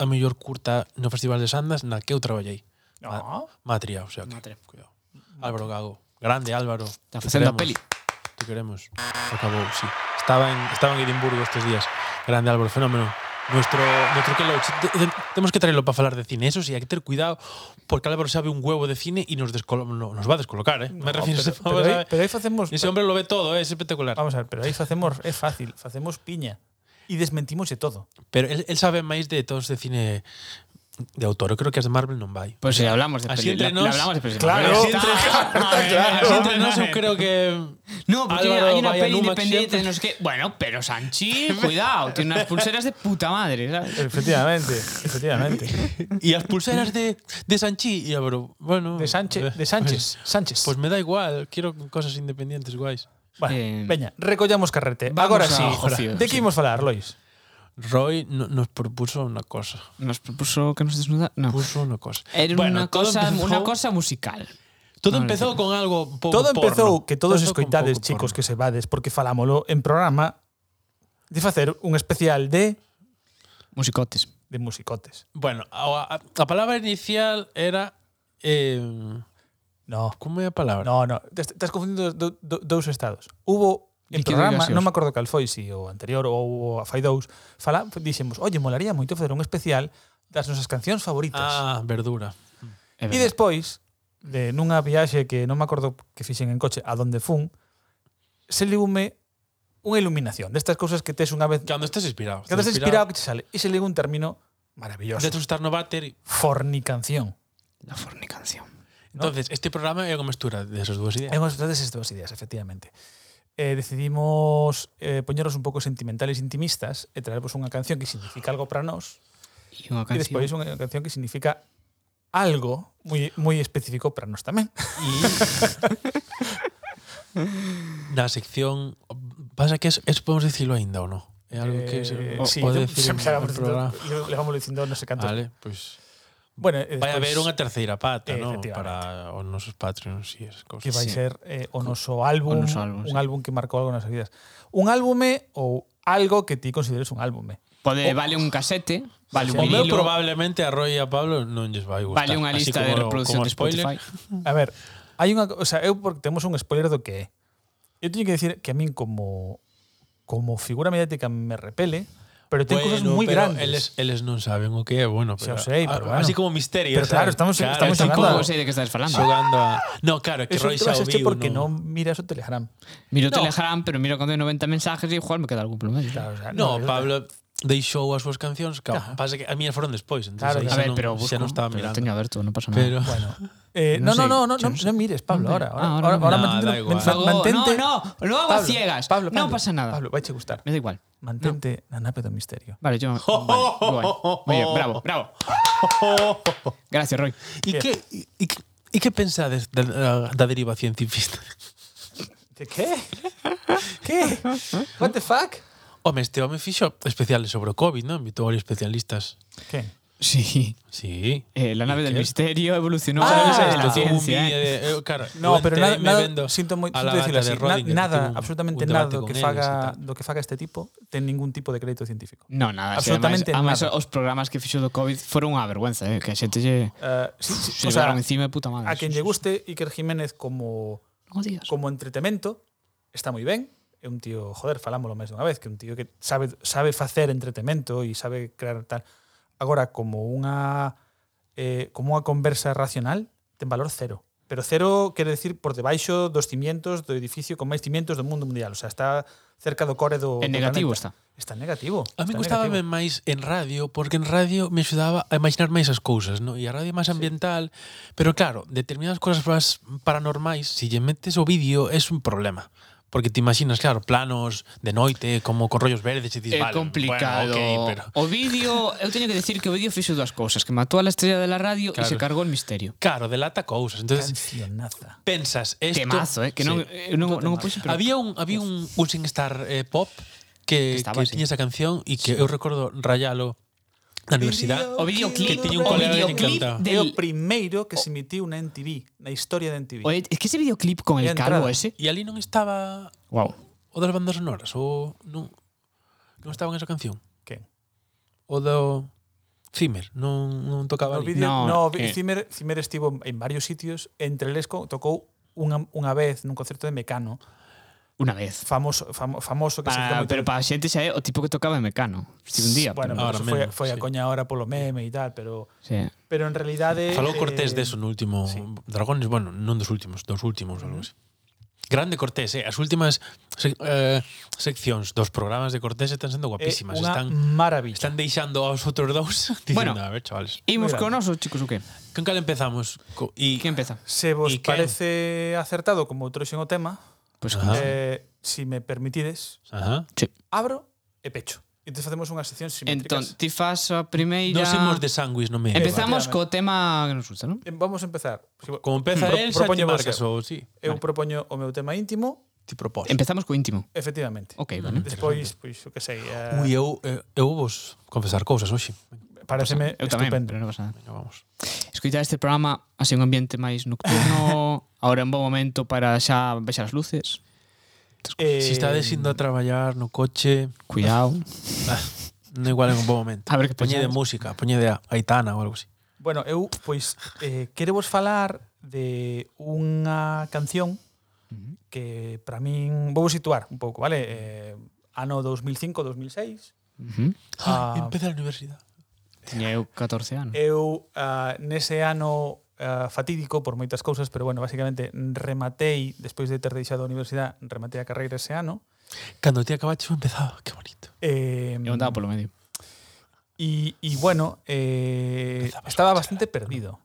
Speaker 3: a mellor curta no Festival de Sandas na que eu traballei.
Speaker 2: Ah.
Speaker 3: Ma- Matria, o sea que,
Speaker 1: Matria.
Speaker 3: cuidado. Álvaro Gago. Grande Álvaro.
Speaker 1: Está facendo a
Speaker 3: Queremos.
Speaker 1: peli.
Speaker 3: Te queremos. Acabou, sí. Estaba en, estaba en Edimburgo estes días. Grande Álvaro, fenómeno. Nuestro, nuestro que tenemos que traerlo para hablar de cine. Eso sí, hay que tener cuidado porque Álvaro sabe un huevo de cine y nos, descolo- no, nos va a descolocar, ¿eh? Me
Speaker 2: No,
Speaker 3: refiero a
Speaker 2: pero,
Speaker 3: ese,
Speaker 2: pero
Speaker 3: hombre,
Speaker 2: aí,
Speaker 3: ¿sabe?
Speaker 2: pero aí facemos
Speaker 3: Ese hombre lo ve todo, ¿eh? es espectacular.
Speaker 2: Vamos a ver, pero aí facemos é fácil, facemos piña e desmentimos de todo.
Speaker 3: Pero él, él sabe máis de todos de cine de autor. Eu creo que as de Marvel non vai.
Speaker 1: Pues si hablamos de
Speaker 3: Así
Speaker 1: peli-
Speaker 3: entre
Speaker 1: la-
Speaker 3: nos-
Speaker 1: la hablamos de peli-
Speaker 2: Claro.
Speaker 1: Así
Speaker 3: Así entre, así
Speaker 1: claro.
Speaker 3: entre nos, eu creo que...
Speaker 1: No, porque
Speaker 3: Álvaro
Speaker 1: hay una
Speaker 3: vai a
Speaker 1: peli
Speaker 3: Numax
Speaker 1: independiente,
Speaker 3: sempre.
Speaker 1: no sé qué. Bueno, pero Sanchi, cuidado, tiene unas pulseras de puta madre, ¿sabes?
Speaker 2: Efectivamente, efectivamente.
Speaker 3: Y as pulseras de, de Sanchi y Álvaro, bueno...
Speaker 2: De Sánchez, de Sánchez, Sánchez.
Speaker 3: Pues me da igual, quiero cosas independientes guais.
Speaker 2: bueno,
Speaker 1: eh,
Speaker 2: veña, recollamos carrete.
Speaker 1: vamos
Speaker 2: Agora
Speaker 1: a
Speaker 2: sí,
Speaker 1: Ocio,
Speaker 2: de que
Speaker 1: sí.
Speaker 2: imos falar, Lois?
Speaker 3: Roy no- nos propuso una cosa.
Speaker 1: ¿Nos propuso que nos desnuda? No.
Speaker 3: Puso una cosa.
Speaker 1: Era
Speaker 3: Pues, Bueno,
Speaker 1: una,
Speaker 3: todo
Speaker 1: cosa,
Speaker 3: empezó-
Speaker 1: una cosa musical.
Speaker 3: Todo
Speaker 1: Vale.
Speaker 3: empezó con algo un pouco
Speaker 2: Todo empezou
Speaker 3: porno.
Speaker 2: que todos
Speaker 3: Empezou con
Speaker 2: escoitades,
Speaker 3: pouco
Speaker 2: chicos,
Speaker 3: porno.
Speaker 2: que se vades, porque falámolo en programa de facer un especial de
Speaker 1: Musicotes.
Speaker 2: de musicotes.
Speaker 3: Bueno, a, a- a palabra inicial era... Eh,
Speaker 2: No,
Speaker 3: como é a palabra?
Speaker 2: no, no, te te estás confundindo do, do, dous estados. Hubo en
Speaker 1: Líquido
Speaker 2: programa,
Speaker 1: gaseoso.
Speaker 2: non me acordo cal foi, si o anterior ou o fai dous, fala, dixemos, "Oye, molaría moito facer un especial das nosas cancións favoritas."
Speaker 3: Ah, verdura.
Speaker 1: É
Speaker 2: E
Speaker 1: verdade.
Speaker 2: despois, de nunha viaxe que non me acordo que fixen en coche a donde fun, se liume unha iluminación destas cousas que tes unha vez
Speaker 3: Cando estés inspirado.
Speaker 2: que estás inspirado que te sale e se liu un término
Speaker 3: De
Speaker 2: maravilloso.
Speaker 3: Dentro estar no váter. y-
Speaker 2: Fornicación.
Speaker 1: La fornicación.
Speaker 3: Entonces, este programa é unha mestura de esas dúas
Speaker 2: É
Speaker 3: ideas.
Speaker 2: unha das estas dúas ideas, efectivamente. Eh, decidimos eh, poñeros un pouco sentimentales e intimistas e traervos unha canción que significa algo para nós
Speaker 1: Y unha
Speaker 2: e
Speaker 1: canción.
Speaker 2: despois unha canción que significa algo moi moi específico para nós tamén.
Speaker 3: Y na sección pasa que es, es podemos dicilo aínda ou non? É algo que se,
Speaker 2: Eh,
Speaker 3: o-
Speaker 2: sí,
Speaker 3: pode
Speaker 2: eu- se-
Speaker 3: decir en,
Speaker 2: se-
Speaker 3: en programa.
Speaker 2: le vamos dicindo non sei cantos
Speaker 3: Vale, pois pues,
Speaker 2: Bueno, e
Speaker 3: vai
Speaker 2: despois
Speaker 3: haber unha terceira pata, non?
Speaker 2: Efectivamente.
Speaker 3: Para os nosos Patreons e esas
Speaker 2: que
Speaker 3: cousas.
Speaker 2: vai
Speaker 1: Sí.
Speaker 2: ser eh, o noso álbum,
Speaker 1: O noso álbum, sí.
Speaker 2: un álbum que marcou algo nas vidas. Un álbume ou algo que ti consideres un álbume.
Speaker 3: oh.
Speaker 1: Pode, vale un casete, vale un
Speaker 3: O
Speaker 1: vinilo,
Speaker 3: meu probablemente a Roy e a Pablo non lles vai gustar.
Speaker 1: vale unha
Speaker 3: Así
Speaker 1: lista de
Speaker 3: como-
Speaker 1: reproducción
Speaker 3: como
Speaker 1: de
Speaker 3: spoiler,
Speaker 1: Spotify.
Speaker 2: A ver, hai unha, o sea, eu porque temos un spoiler do que é. Eu teño que decir que a min como como figura mediática me repele, pero ten
Speaker 3: Bueno,
Speaker 2: cosas moi
Speaker 3: pero
Speaker 2: grandes.
Speaker 3: Eles, eles non saben o que é, bueno,
Speaker 2: Xa
Speaker 3: pero,
Speaker 2: o sei, pero
Speaker 3: a- así
Speaker 2: bueno.
Speaker 3: como misterio,
Speaker 2: Pero claro,
Speaker 3: ¿sabes?
Speaker 2: estamos- estamos
Speaker 3: así
Speaker 1: Como
Speaker 2: xogando a-
Speaker 3: como
Speaker 1: sei de que estás falando.
Speaker 3: xogando a... No, claro, que
Speaker 2: Eso
Speaker 3: Roy
Speaker 2: te
Speaker 3: xa
Speaker 2: vas a
Speaker 3: o
Speaker 2: este
Speaker 3: viu,
Speaker 2: porque
Speaker 3: non.
Speaker 2: non miras o Telegram.
Speaker 1: Miro
Speaker 3: No.
Speaker 1: Telegram, pero miro cando hai 90 mensajes e igual me queda algún pelo medio.
Speaker 2: Claro, o sea,
Speaker 3: No,
Speaker 2: eu-
Speaker 3: Pablo deixou as súas cancións, claro,
Speaker 2: Ajá.
Speaker 3: pasa que a mía foron despois, entonces
Speaker 2: Claro,
Speaker 3: aí
Speaker 1: A
Speaker 3: xa
Speaker 1: ver,
Speaker 3: non,
Speaker 1: pero
Speaker 3: xa
Speaker 1: busco,
Speaker 3: non estaba
Speaker 1: pero
Speaker 3: mirando.
Speaker 1: teño aberto, non pasa nada.
Speaker 3: Pero
Speaker 2: Bueno. Eh,
Speaker 1: No
Speaker 2: no, no,
Speaker 1: sé,
Speaker 2: no, no,
Speaker 1: yo
Speaker 2: no,
Speaker 1: no sé.
Speaker 2: no mires, Pablo,
Speaker 1: Hombre,
Speaker 2: ahora. Ahora,
Speaker 1: ah, ahora
Speaker 2: ahora,
Speaker 1: no
Speaker 2: ahora
Speaker 3: mires.
Speaker 2: mantente-
Speaker 3: Nada, igual.
Speaker 2: man-
Speaker 1: Luego-
Speaker 2: mantente-
Speaker 1: no, no, luego a ciegas. No pasa nada.
Speaker 2: Pablo, vai che gustar.
Speaker 1: Me da igual.
Speaker 2: Mantente na nave do misterio.
Speaker 1: Vale, yo. vale, guay. Muy bien, bravo, bravo. Gracias, Roy.
Speaker 3: E que e que e que pensades da, da- da deriva científica?
Speaker 2: De que? que? What the fuck?
Speaker 3: Home, este home fixo especiales sobre o COVID, non? Invitou a varios especialistas.
Speaker 2: Que?
Speaker 1: Sí.
Speaker 3: Sí.
Speaker 1: Eh, la nave del
Speaker 3: ¿Qué?
Speaker 1: misterio evolucionó
Speaker 2: Ah,
Speaker 1: gracias a
Speaker 2: esto
Speaker 1: la
Speaker 2: fue un
Speaker 1: ciencia.
Speaker 3: vídeo
Speaker 1: eh.
Speaker 3: de- eu, cara,
Speaker 2: No,
Speaker 3: eu
Speaker 2: pero nada,
Speaker 3: entereime vendo
Speaker 2: nada sinto moi,
Speaker 3: a
Speaker 2: sinto
Speaker 3: la
Speaker 2: decir
Speaker 3: gata de
Speaker 2: así, na-
Speaker 3: Rodinger, que
Speaker 2: nada,
Speaker 3: tuvo un-
Speaker 2: absolutamente
Speaker 3: un
Speaker 2: nada
Speaker 3: debate
Speaker 2: do que
Speaker 3: con eles e
Speaker 2: faga
Speaker 3: tal.
Speaker 2: do que faga este tipo ten ningún tipo de crédito científico.
Speaker 1: No, nada, Absolutamente
Speaker 2: Absolutamente
Speaker 1: además,
Speaker 2: nada.
Speaker 1: os programas que fixo do COVID foron unha vergüenza, eh, que a xente lle
Speaker 2: Eh, sí, sí,
Speaker 1: se
Speaker 2: o sea,
Speaker 1: levaron encima de puta madre.
Speaker 2: a quen lle guste Iker Jiménez como
Speaker 1: Oh, Dios.
Speaker 2: como entretemento está moi ben. É un tío, joder, falámoslo máis dunha vez, que é un tío que sabe sabe facer entretemento e sabe crear tal. Agora como unha eh, como unha conversa racional ten valor cero. Pero cero quere decir por debaixo dos cimientos do edificio con máis cimientos do mundo mundial, o sea, está cerca do core do
Speaker 1: En
Speaker 2: do
Speaker 1: negativo
Speaker 2: planeta.
Speaker 1: está.
Speaker 2: Está en negativo.
Speaker 3: A
Speaker 2: está
Speaker 3: mí
Speaker 2: en
Speaker 3: gustaba
Speaker 2: negativo.
Speaker 3: máis en radio porque en radio me axudaba a imaginar máis as cousas, no? E a radio é máis ambiental, pero claro, determinadas cousas más paranormais, se lle metes o vídeo é un problema. Porque te imaginas, claro, planos de noite, como con rollos verdes, e
Speaker 1: É
Speaker 3: dices, vale,
Speaker 1: complicado.
Speaker 3: Bueno, ok, pero...
Speaker 1: O vídeo, eu teño que decir que o vídeo fixo dúas cousas, que matou a la estrella de la radio e
Speaker 3: Claro.
Speaker 1: se cargou el misterio.
Speaker 3: Claro, delata cousas. Entonces,
Speaker 2: cancionaza.
Speaker 3: pensas, esto...
Speaker 1: Temazo, eh, que non
Speaker 3: Sí.
Speaker 1: eh, non non o puxen, pero
Speaker 3: había un había un, un singstar eh, pop
Speaker 1: Que
Speaker 3: que, que,
Speaker 1: estaba, sí. oh.
Speaker 3: tiña esa canción e que eu recordo rayalo na universidade.
Speaker 1: o videoclip,
Speaker 3: Que tiña un
Speaker 1: o
Speaker 3: colega que le
Speaker 1: videoclip
Speaker 3: encantaba.
Speaker 2: É o
Speaker 1: del
Speaker 2: primeiro que se emitiu na MTV, na historia de MTV.
Speaker 1: Oye, es que ese videoclip con el
Speaker 2: Entrada.
Speaker 1: calvo ese.
Speaker 3: E ali non estaba
Speaker 1: Wow.
Speaker 3: o das bandas sonoras, o non non estaba en esa canción.
Speaker 2: Quen?
Speaker 3: O do Zimmer, non non
Speaker 2: No,
Speaker 3: tocaba ali.
Speaker 2: vídeo,
Speaker 1: No,
Speaker 2: no,
Speaker 1: eh.
Speaker 2: Zimmer, Zimmer estivo en varios sitios, entre eles co- tocou unha, unha vez nun concerto de Mecano
Speaker 1: Una vez.
Speaker 2: famoso, famo- famoso que se
Speaker 1: Para-
Speaker 2: hizo
Speaker 1: pero para a xente xa é o tipo que tocaba en Mecano. Si un día.
Speaker 2: Bueno,
Speaker 1: Bueno, pero,
Speaker 2: pero
Speaker 3: Ahora
Speaker 2: eso foi,
Speaker 3: menos,
Speaker 2: foi a
Speaker 3: sí.
Speaker 2: coña ahora polo meme e tal, pero
Speaker 1: sí.
Speaker 2: pero en realidade
Speaker 3: Falou
Speaker 2: eh,
Speaker 3: Cortés deso no último
Speaker 2: sí.
Speaker 3: sí. Dragones, bueno, non dos últimos, dos últimos, algo así. Grande Cortés, eh? as últimas sec eh, seccións dos programas de Cortés están sendo
Speaker 2: é
Speaker 3: guapísimas,
Speaker 2: unha
Speaker 3: están
Speaker 2: maravilla.
Speaker 3: están deixando aos outros dous
Speaker 1: Bueno.
Speaker 3: dicindo, a ver, chavales.
Speaker 1: Imos
Speaker 2: Muy
Speaker 1: con
Speaker 2: grande.
Speaker 1: osos, chicos, o qué?
Speaker 3: Con cal empezamos? Co
Speaker 1: ¿Y
Speaker 3: e
Speaker 1: ¿Quién empieza?
Speaker 2: Se vos
Speaker 3: E quen?
Speaker 2: parece acertado como trouxen o tema,
Speaker 1: Pues
Speaker 3: Ajá.
Speaker 2: eh, si me permitides,
Speaker 3: Ajá.
Speaker 2: abro e pecho. Entón facemos unha sección simétrica.
Speaker 1: entón, ti fas a primeira...
Speaker 3: Nos imos de sándwich, non me.
Speaker 1: Empezamos
Speaker 2: Vale.
Speaker 1: co tema que nos gusta, non?
Speaker 2: Eh, Vamos a empezar. Porque
Speaker 3: Como empeza
Speaker 2: Pro-
Speaker 3: el, xa
Speaker 2: propoño
Speaker 3: te
Speaker 2: vos,
Speaker 3: marcas
Speaker 2: eh.
Speaker 3: ou sí.
Speaker 2: Eu propoño o meu tema íntimo,
Speaker 3: Ti propós.
Speaker 1: Empezamos co íntimo.
Speaker 2: efectivamente.
Speaker 1: Ok, vale.
Speaker 2: Despois, pois, o que sei, eh,
Speaker 3: Ui, eu, eh, eu vos confesar cousas hoxe.
Speaker 2: pareceme
Speaker 1: Eu tamén,
Speaker 2: estupendo.
Speaker 1: pero non pasa nada.
Speaker 3: Venga, vamos.
Speaker 1: Escoitar este programa así en un ambiente máis nocturno, ahora en bon momento para xa baixar as luces.
Speaker 2: Eh,
Speaker 3: Si estades indo a traballar no coche,
Speaker 1: Cuidado.
Speaker 3: non é igual en un bon momento.
Speaker 1: A
Speaker 2: Ah,
Speaker 1: ver que
Speaker 3: Poñe de
Speaker 1: pensades.
Speaker 3: música, poñe de Aitana ou algo así.
Speaker 2: Bueno, eu pois eh, querevos falar de unha canción que para min vou situar un pouco, vale? Eh, ano 2005-2006.
Speaker 1: Uh -huh.
Speaker 2: Ah.
Speaker 3: Ah, empeza a universidade.
Speaker 1: Tiña eu 14 anos.
Speaker 2: Eu ah, nese ano ah, fatídico por moitas cousas, pero bueno, basicamente rematei despois de ter deixado a universidade, rematei a carreira ese ano.
Speaker 3: Cando ti acabaches eu empezaba, que bonito.
Speaker 2: Eh,
Speaker 1: Eu andaba polo medio.
Speaker 2: y, y bueno, eh,
Speaker 3: Empezabas
Speaker 2: estaba
Speaker 3: a
Speaker 2: bastante perdido.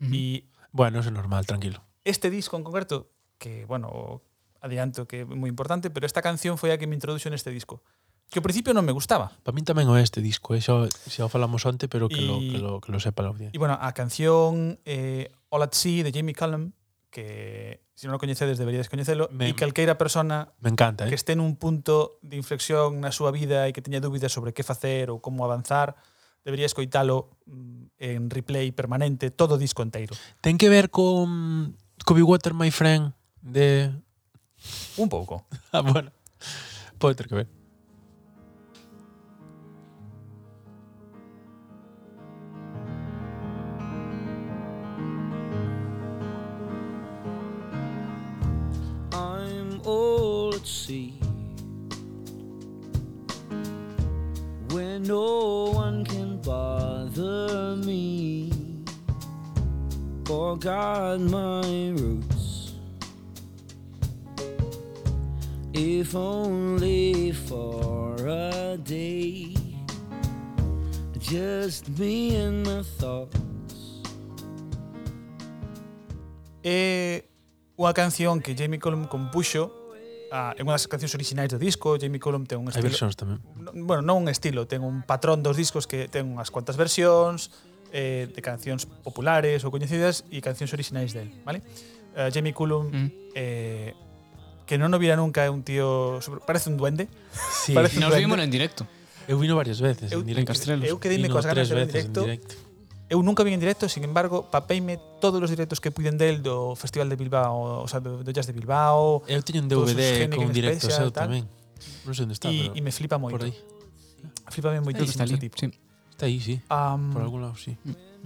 Speaker 2: E
Speaker 3: Bueno, eso é normal, tranquilo.
Speaker 2: este disco en concreto, que, bueno, adianto que é moi importante, pero esta canción foi a que me introduxo neste disco. Que ao principio non me gustaba.
Speaker 3: Para min tamén o é este disco, eh? xa, xa o falamos onte, pero que, lo,
Speaker 2: Y-
Speaker 3: que, lo, que lo sepa la
Speaker 2: E,
Speaker 3: audiencia.
Speaker 2: bueno, a canción eh, All at Sea de Jamie Cullum, que se non o coñecedes deberíades coñecelo, e
Speaker 3: Me-
Speaker 2: calqueira persona
Speaker 3: Me encanta,
Speaker 2: que
Speaker 3: eh?
Speaker 2: este nun punto de inflexión na súa vida e que teña dúbidas sobre que facer ou como avanzar, debería escoitalo mm, en replay permanente todo o disco enteiro.
Speaker 3: Ten que ver con Kobe Water, my friend, de...
Speaker 2: Un pouco.
Speaker 3: Ah, bueno. Pode ter que ver.
Speaker 4: I'm all at sea. Where no one can bother me. Forgot my roots. If only for a day. Just me and my thoughts.
Speaker 2: é unha canción que Jamie Cullum compuxo ah, é unha das cancións originais do disco Jamie Cullum ten un
Speaker 3: Hai
Speaker 2: estilo
Speaker 3: versións tamén.
Speaker 2: no, bueno, non un estilo, ten un patrón dos discos que ten unhas cuantas versións eh, de cancións populares ou coñecidas e cancións originais del, vale? Eh, Jamie Cullum
Speaker 1: Mm.
Speaker 2: eh, que non o vira nunca é un tío sobre- parece un duende
Speaker 3: Sí,
Speaker 2: Parece-
Speaker 1: Nos vimos en directo.
Speaker 3: eu vino varias veces
Speaker 2: Eu-
Speaker 3: en
Speaker 1: en
Speaker 3: directo.
Speaker 1: Castrelos.
Speaker 2: eu quedeime
Speaker 3: Vino
Speaker 2: coas ganas de
Speaker 3: tres
Speaker 2: ver en
Speaker 3: veces
Speaker 2: directo. Eu nunca vi en directo, sin embargo, papeime todos os directos que puiden del do Festival de Bilbao, o sea, do, do Jazz de Bilbao,
Speaker 3: Eu teño un
Speaker 2: Todos os
Speaker 3: DVD
Speaker 2: Heineken
Speaker 3: con directo
Speaker 2: Special,
Speaker 3: seu
Speaker 2: tal.
Speaker 3: tamén. Non sei onde está,
Speaker 2: e,
Speaker 3: pero
Speaker 2: e me flipa moito.
Speaker 3: por aí.
Speaker 2: Flipame moito
Speaker 1: Está ali,
Speaker 2: este tipo.
Speaker 1: sí.
Speaker 3: Está aí, sí.
Speaker 2: Um,
Speaker 3: Por algún lado, sí.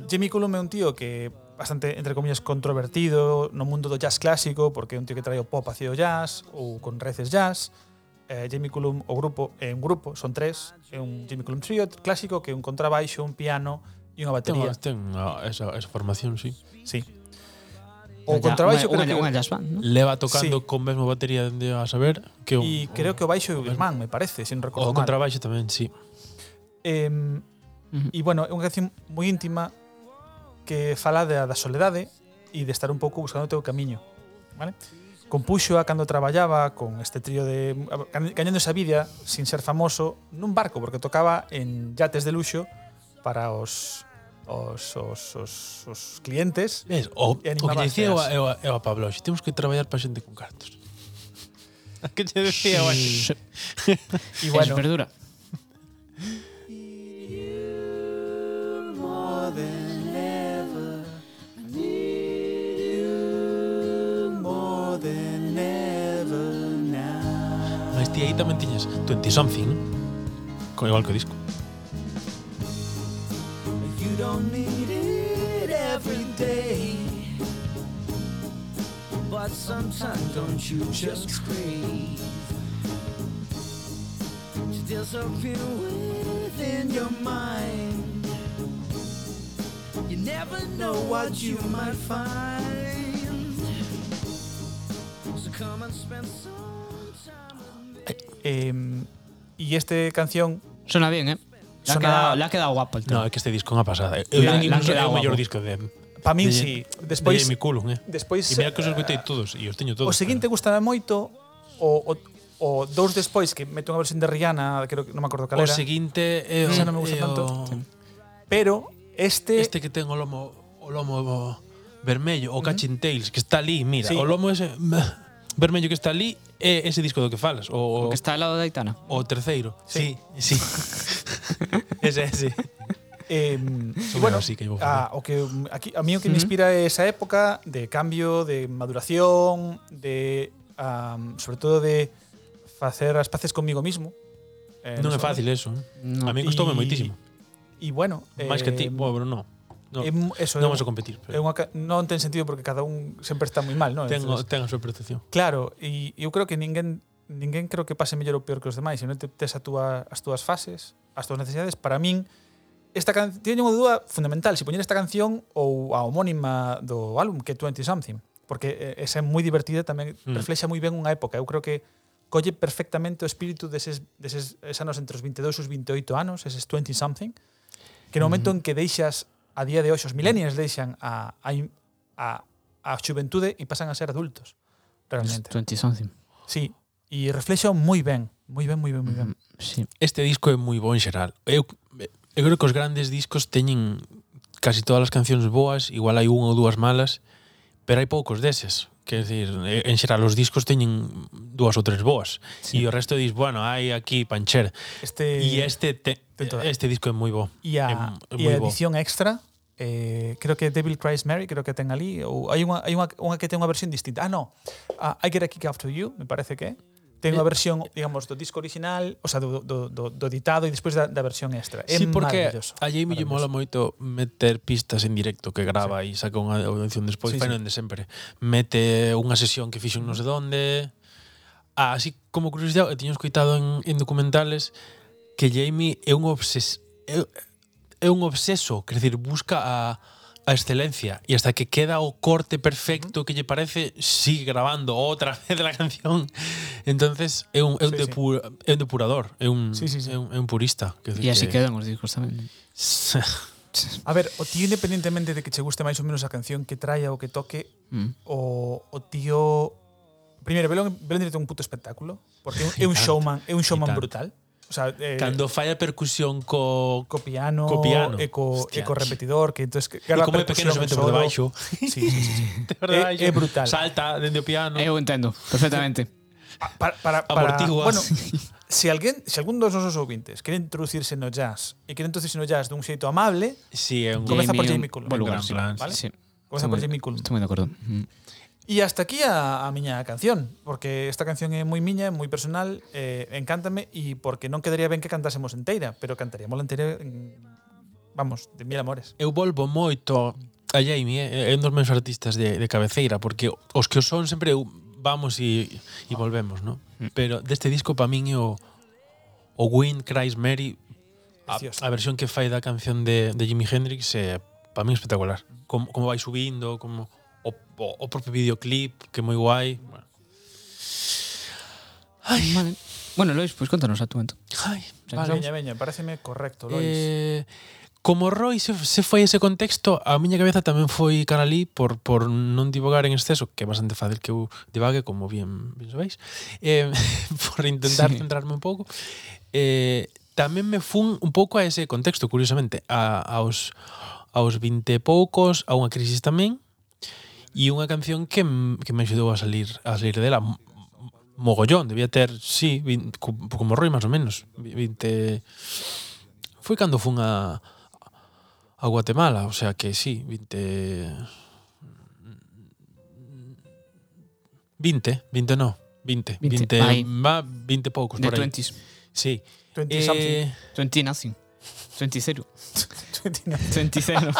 Speaker 2: Jimmy Cullum é un tío que bastante, entre comillas, controvertido no mundo do jazz clásico, porque é un tío que trae o pop hacia o jazz, ou con reces jazz. Eh, Jimmy Cullum, o grupo, é un grupo, son tres, é un Jimmy Cullum trio clásico, que é un contrabaixo, un piano e unha
Speaker 3: Ten,
Speaker 2: batería.
Speaker 3: ten ah, esa, esa formación, sí.
Speaker 2: Sí. O
Speaker 1: Unha-
Speaker 2: contrabaixo
Speaker 1: unha,
Speaker 2: creo
Speaker 1: unha,
Speaker 2: que...
Speaker 1: unha jazz band, non?
Speaker 3: Leva tocando
Speaker 2: Sí.
Speaker 3: con mesmo batería dende a saber que o,
Speaker 2: E creo que o baixo é o Guzmán, me parece, sin
Speaker 3: o,
Speaker 2: recordo
Speaker 3: o
Speaker 2: mal.
Speaker 3: contrabaixo tamén, sí.
Speaker 2: Em,
Speaker 1: Ujú.
Speaker 2: E bueno, é unha canción moi íntima que fala da, da soledade e de estar un pouco buscando o teu camiño. Vale? Compuxo a cando traballaba con este trío de gañando esa vida sin ser famoso nun barco porque tocaba en yates de luxo para os os, os, os, os clientes
Speaker 3: Ves, o, o
Speaker 2: E
Speaker 3: que
Speaker 2: animaba as
Speaker 3: lle dicía eu, a-
Speaker 2: ceas.
Speaker 3: eu, a- eu a Pablo, xe temos que traballar para xente con cartos. que lle decía, bueno.
Speaker 1: Sí. Es
Speaker 2: e bueno,
Speaker 1: verdura.
Speaker 3: Mas ti aí tamén tiñas 20 something, co igual que o disco.
Speaker 4: You don't need it every day. But God, sometimes don't you just crave to disappear within your mind? You never know what you might find. So come and spend some time with me.
Speaker 2: Em, y esta canción
Speaker 1: Suena bien, ¿eh? Le ha,
Speaker 2: Suena-
Speaker 1: quedado, le ha quedado guapo el tema.
Speaker 3: No, é que este disco é unha pasada. Eu
Speaker 1: La- la
Speaker 3: diría que incluso é
Speaker 1: queda
Speaker 3: o mellor
Speaker 1: guapo.
Speaker 3: disco de
Speaker 2: Para min,
Speaker 3: de-
Speaker 2: sí.
Speaker 3: de
Speaker 2: Despois-
Speaker 3: Jamie Cullum, eh.
Speaker 2: despois,
Speaker 3: E mira que os escoitei todos e os teño todos.
Speaker 2: Pois o seguinte gustame moito o, o, o dous despois que meto unha versión de Rihanna, creo que non me acordo cal
Speaker 3: pero- o
Speaker 2: era,
Speaker 3: seguinte é o,
Speaker 2: Esa non me gusta
Speaker 3: é o-
Speaker 2: tanto. pero este,
Speaker 3: Este que ten o lomo o lomo vermello, o Catching Tails, que está ali,
Speaker 2: Sí.
Speaker 3: mira, o lomo ese vermello que está ali é ese disco do que falas, o, o,
Speaker 1: Porque está al lado de Aitana.
Speaker 3: o terceiro.
Speaker 2: Sí.
Speaker 3: sí. ese, ese.
Speaker 2: Eh,
Speaker 3: Son
Speaker 2: bueno,
Speaker 3: así que llevo
Speaker 2: a, o que mm, aquí, a mí o que me inspira é esa época de cambio, de maduración, de am, sobre todo de facer as paces comigo mismo. Eh,
Speaker 3: Non é
Speaker 2: sei,
Speaker 3: fácil eso. eh.
Speaker 1: No.
Speaker 3: A mí
Speaker 2: Y-
Speaker 3: costoume moitísimo.
Speaker 2: E bueno,
Speaker 3: eh, Máis que ti, bueno, pero non. No,
Speaker 2: Eh, é mu- eso,
Speaker 3: non
Speaker 2: é,
Speaker 3: vamos a
Speaker 2: un-
Speaker 3: competir.
Speaker 2: é unha, ca- non ten sentido porque cada un sempre está moi mal, non?
Speaker 3: Ten, o-
Speaker 2: Entonces,
Speaker 3: ten a súa percepción.
Speaker 2: claro, e eu creo que ninguén ninguén creo que pase mellor ou peor que os demais, senón te tes a túa, as túas fases, as túas necesidades. Para min, esta can... teño unha dúa fundamental, se poñer esta canción ou a homónima do álbum, que é 20 something, porque eh, esa é moi divertida, tamén mm.
Speaker 3: Mm.
Speaker 2: reflexa moi ben unha época. Eu creo que colle perfectamente o espírito deses, deses eses anos entre os 22 e os 28 anos, eses 20 something, que no momento en que deixas a día de hoxe os millennials deixan a a in- a, a xuventude e pasan a ser adultos. Realmente.
Speaker 1: 20 Pues something.
Speaker 2: Sí, e reflexa moi ben, moi ben, moi ben, moi ben.
Speaker 1: Sí.
Speaker 3: Este disco é moi bo en xeral. Eu, eu creo que os grandes discos teñen casi todas as cancións boas, igual hai unha ou dúas malas, pero hai poucos deses. Quer decir, eh, en xeral os discos teñen dúas ou tres boas.
Speaker 1: Sí.
Speaker 3: E o resto dis, bueno, hai aquí pancher.
Speaker 2: Este
Speaker 3: E este
Speaker 2: Eh,
Speaker 3: te,
Speaker 2: ten toda.
Speaker 3: este disco é moi bo.
Speaker 2: e a,
Speaker 3: é, é
Speaker 2: e a
Speaker 3: moi bo.
Speaker 2: edición extra eh, creo que Devil Cries Mary creo que ten ali ou hai unha, hai unha, unha que ten unha versión distinta ah no, ah, I Get a Kick After You me parece que é.
Speaker 3: Eh,
Speaker 2: ten unha versión digamos do disco original o sea, do, do, do, do editado e despois da, da versión extra é
Speaker 3: Sí, porque
Speaker 2: maravilloso
Speaker 3: a Jamie lle mola
Speaker 2: maravilloso.
Speaker 3: moito meter pistas en directo que grava e saca unha audición de
Speaker 2: Sí,
Speaker 3: Spotify,
Speaker 2: sí.
Speaker 3: non de sempre. Mete unha sesión que fixo en non sei onde. Ah, así como curiosidade, eu tiño escoitado en, en documentales que Jamie é un obses é, é un obseso, quer dizer, busca a, a excelencia e hasta que queda o corte perfecto que lle parece, sigue grabando outra vez la canción. Entonces é un é un,
Speaker 2: Sí, sí.
Speaker 3: depura, é un depurador, é un
Speaker 2: Sí, sí, sí.
Speaker 3: é un, é un purista, quer
Speaker 1: Y
Speaker 3: dizer
Speaker 1: así
Speaker 3: que-
Speaker 1: quedan los discos también.
Speaker 2: a ver, o tío independentemente de que che guste máis ou menos a canción que traia ou que toque
Speaker 1: Mm.
Speaker 2: o, o tío primeiro, velo, en- velo en directo é un puto espectáculo porque é un- é un
Speaker 3: Y tanto,
Speaker 2: showman é un showman
Speaker 3: tanto.
Speaker 2: brutal o sea, eh,
Speaker 3: Cando falla percusión co, co
Speaker 2: co piano,
Speaker 3: Co piano.
Speaker 2: e co,
Speaker 3: Hostia.
Speaker 2: e co repetidor, que entonces que
Speaker 3: e
Speaker 2: grava
Speaker 3: como é pequeno se
Speaker 2: percusión
Speaker 3: mete
Speaker 2: solo.
Speaker 3: por debaixo.
Speaker 2: Sí, sí, sí, sí.
Speaker 3: Por
Speaker 2: É-
Speaker 3: debaixo.
Speaker 2: é brutal.
Speaker 3: Eh, Salta dende o piano.
Speaker 1: Eu entendo, perfectamente.
Speaker 2: Para, para, para,
Speaker 3: Amortiguas.
Speaker 2: bueno, se alguén, se algún dos nosos ouvintes quere introducirse no jazz e quere introducirse no jazz dun xeito amable,
Speaker 3: Sí, é un
Speaker 2: Comeza por
Speaker 1: un
Speaker 2: Jamie Cullum.
Speaker 1: Buen lugar,
Speaker 3: Gran
Speaker 1: sí.
Speaker 3: plan,
Speaker 2: ¿vale?
Speaker 1: Sí.
Speaker 2: comeza
Speaker 1: Estoy
Speaker 2: por
Speaker 1: muy-
Speaker 2: Jimmy Cullum.
Speaker 1: Estoy muy de acuerdo. Mm.
Speaker 2: E hasta aquí a, a miña canción, porque esta canción é moi miña, é moi personal, eh, encántame e porque non quedaría ben que cantásemos enteira, pero cantaríamos enteira en, vamos, de mil amores.
Speaker 3: Eu volvo moito a Jamie, eh, é un dos meus artistas de, de cabeceira, porque os que o son sempre eu vamos e, e volvemos, ¿no? Pero deste disco para min é o, o Wind Cries Mary, a,
Speaker 2: Precioso.
Speaker 3: a versión que fai da canción de, de Jimi Hendrix é para min espectacular. Como, como vai subindo, como o, o, o propio videoclip, que é moi guai. Bueno. Ai,
Speaker 1: Vale. Bueno, Lois, pues cuéntanos a tu momento.
Speaker 3: ai,
Speaker 1: que
Speaker 3: vale.
Speaker 2: Veña, veña, pareceme correcto, Lois.
Speaker 3: Eh, como Roy se, se foi ese contexto, a miña cabeza tamén foi canalí por, por non divagar en exceso, que é bastante fácil que eu divague, como bien, bien sabéis, eh, por intentar
Speaker 1: Sí.
Speaker 3: sí. centrarme un pouco. Eh, tamén me fun un pouco a ese contexto, curiosamente, a, aos, aos 20 e poucos, a unha crisis tamén, e unha canción que, m- que me axudou a salir a salir dela m- m- mogollón, debía ter, sí, 20, co- como Roy máis ou menos, 20 Foi cando fun a a Guatemala, o sea que sí, 20 20, 20 no, 20,
Speaker 1: 20,
Speaker 3: 20,
Speaker 1: ahí.
Speaker 3: va 20
Speaker 2: Pues
Speaker 3: poucos
Speaker 1: De
Speaker 3: por aí.
Speaker 1: 20s.
Speaker 3: Sí.
Speaker 2: 20 something.
Speaker 3: Eh,
Speaker 1: 20 nothing. 20 cero.
Speaker 2: 20 no.
Speaker 1: 20 cero.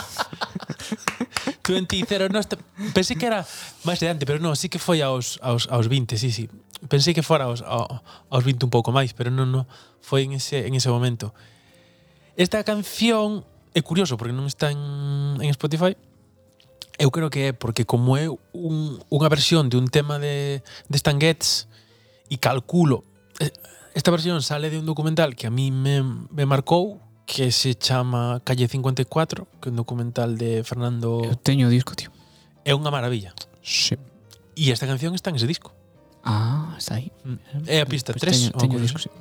Speaker 3: 20 0, no, este- pensei que era máis de antes, pero non, sí que foi aos, aos, aos 20, sí, sí. Pensei que fora aos, ao- aos 20 un pouco máis, pero non, non, foi en ese, en ese momento. Esta canción é curioso porque non está en, en Spotify. Eu creo que é porque como é un, unha versión de un tema de, de Stan Getz e calculo eh, esta versión sale de un documental que a mí me, me marcou que se chama Calle 54 que é un documental de Fernando
Speaker 1: Eu teño o Eh, disco, tío.
Speaker 3: é unha maravilla
Speaker 1: Sí.
Speaker 3: e esta canción está en ese disco
Speaker 1: Ah, está aí.
Speaker 3: é a pista
Speaker 1: Pois Teño,
Speaker 3: 3
Speaker 1: teño o disco, sí.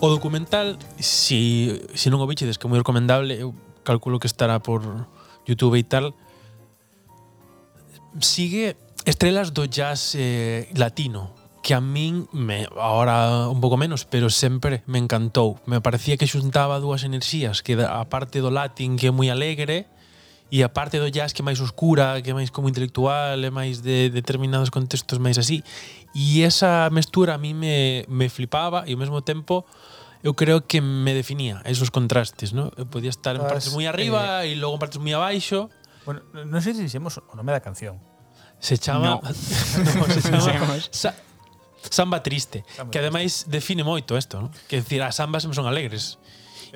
Speaker 3: O documental, si, si non o vichedes, que é moi recomendable, eu calculo que estará por YouTube e tal, sigue estrelas do jazz eh, latino, que a min, me, ahora un pouco menos, pero sempre me encantou. Me parecía que xuntaba dúas enerxías, que da- a parte do latín que é moi alegre, e a parte do jazz que é máis oscura, que é máis como intelectual, é máis de determinados contextos máis así. E esa mestura a mí me, me flipaba e ao mesmo tempo eu creo que me definía esos contrastes, ¿no? Eu podía estar en
Speaker 2: Estás,
Speaker 3: partes moi arriba e logo en partes moi abaixo.
Speaker 2: Bueno, non sei se dixemos o nome da canción.
Speaker 3: Se
Speaker 1: No.
Speaker 3: chama, no. se chama sa, Samba Triste,
Speaker 2: Samba
Speaker 3: que ademais define moito isto, ¿no? Que decir, as sambas son alegres.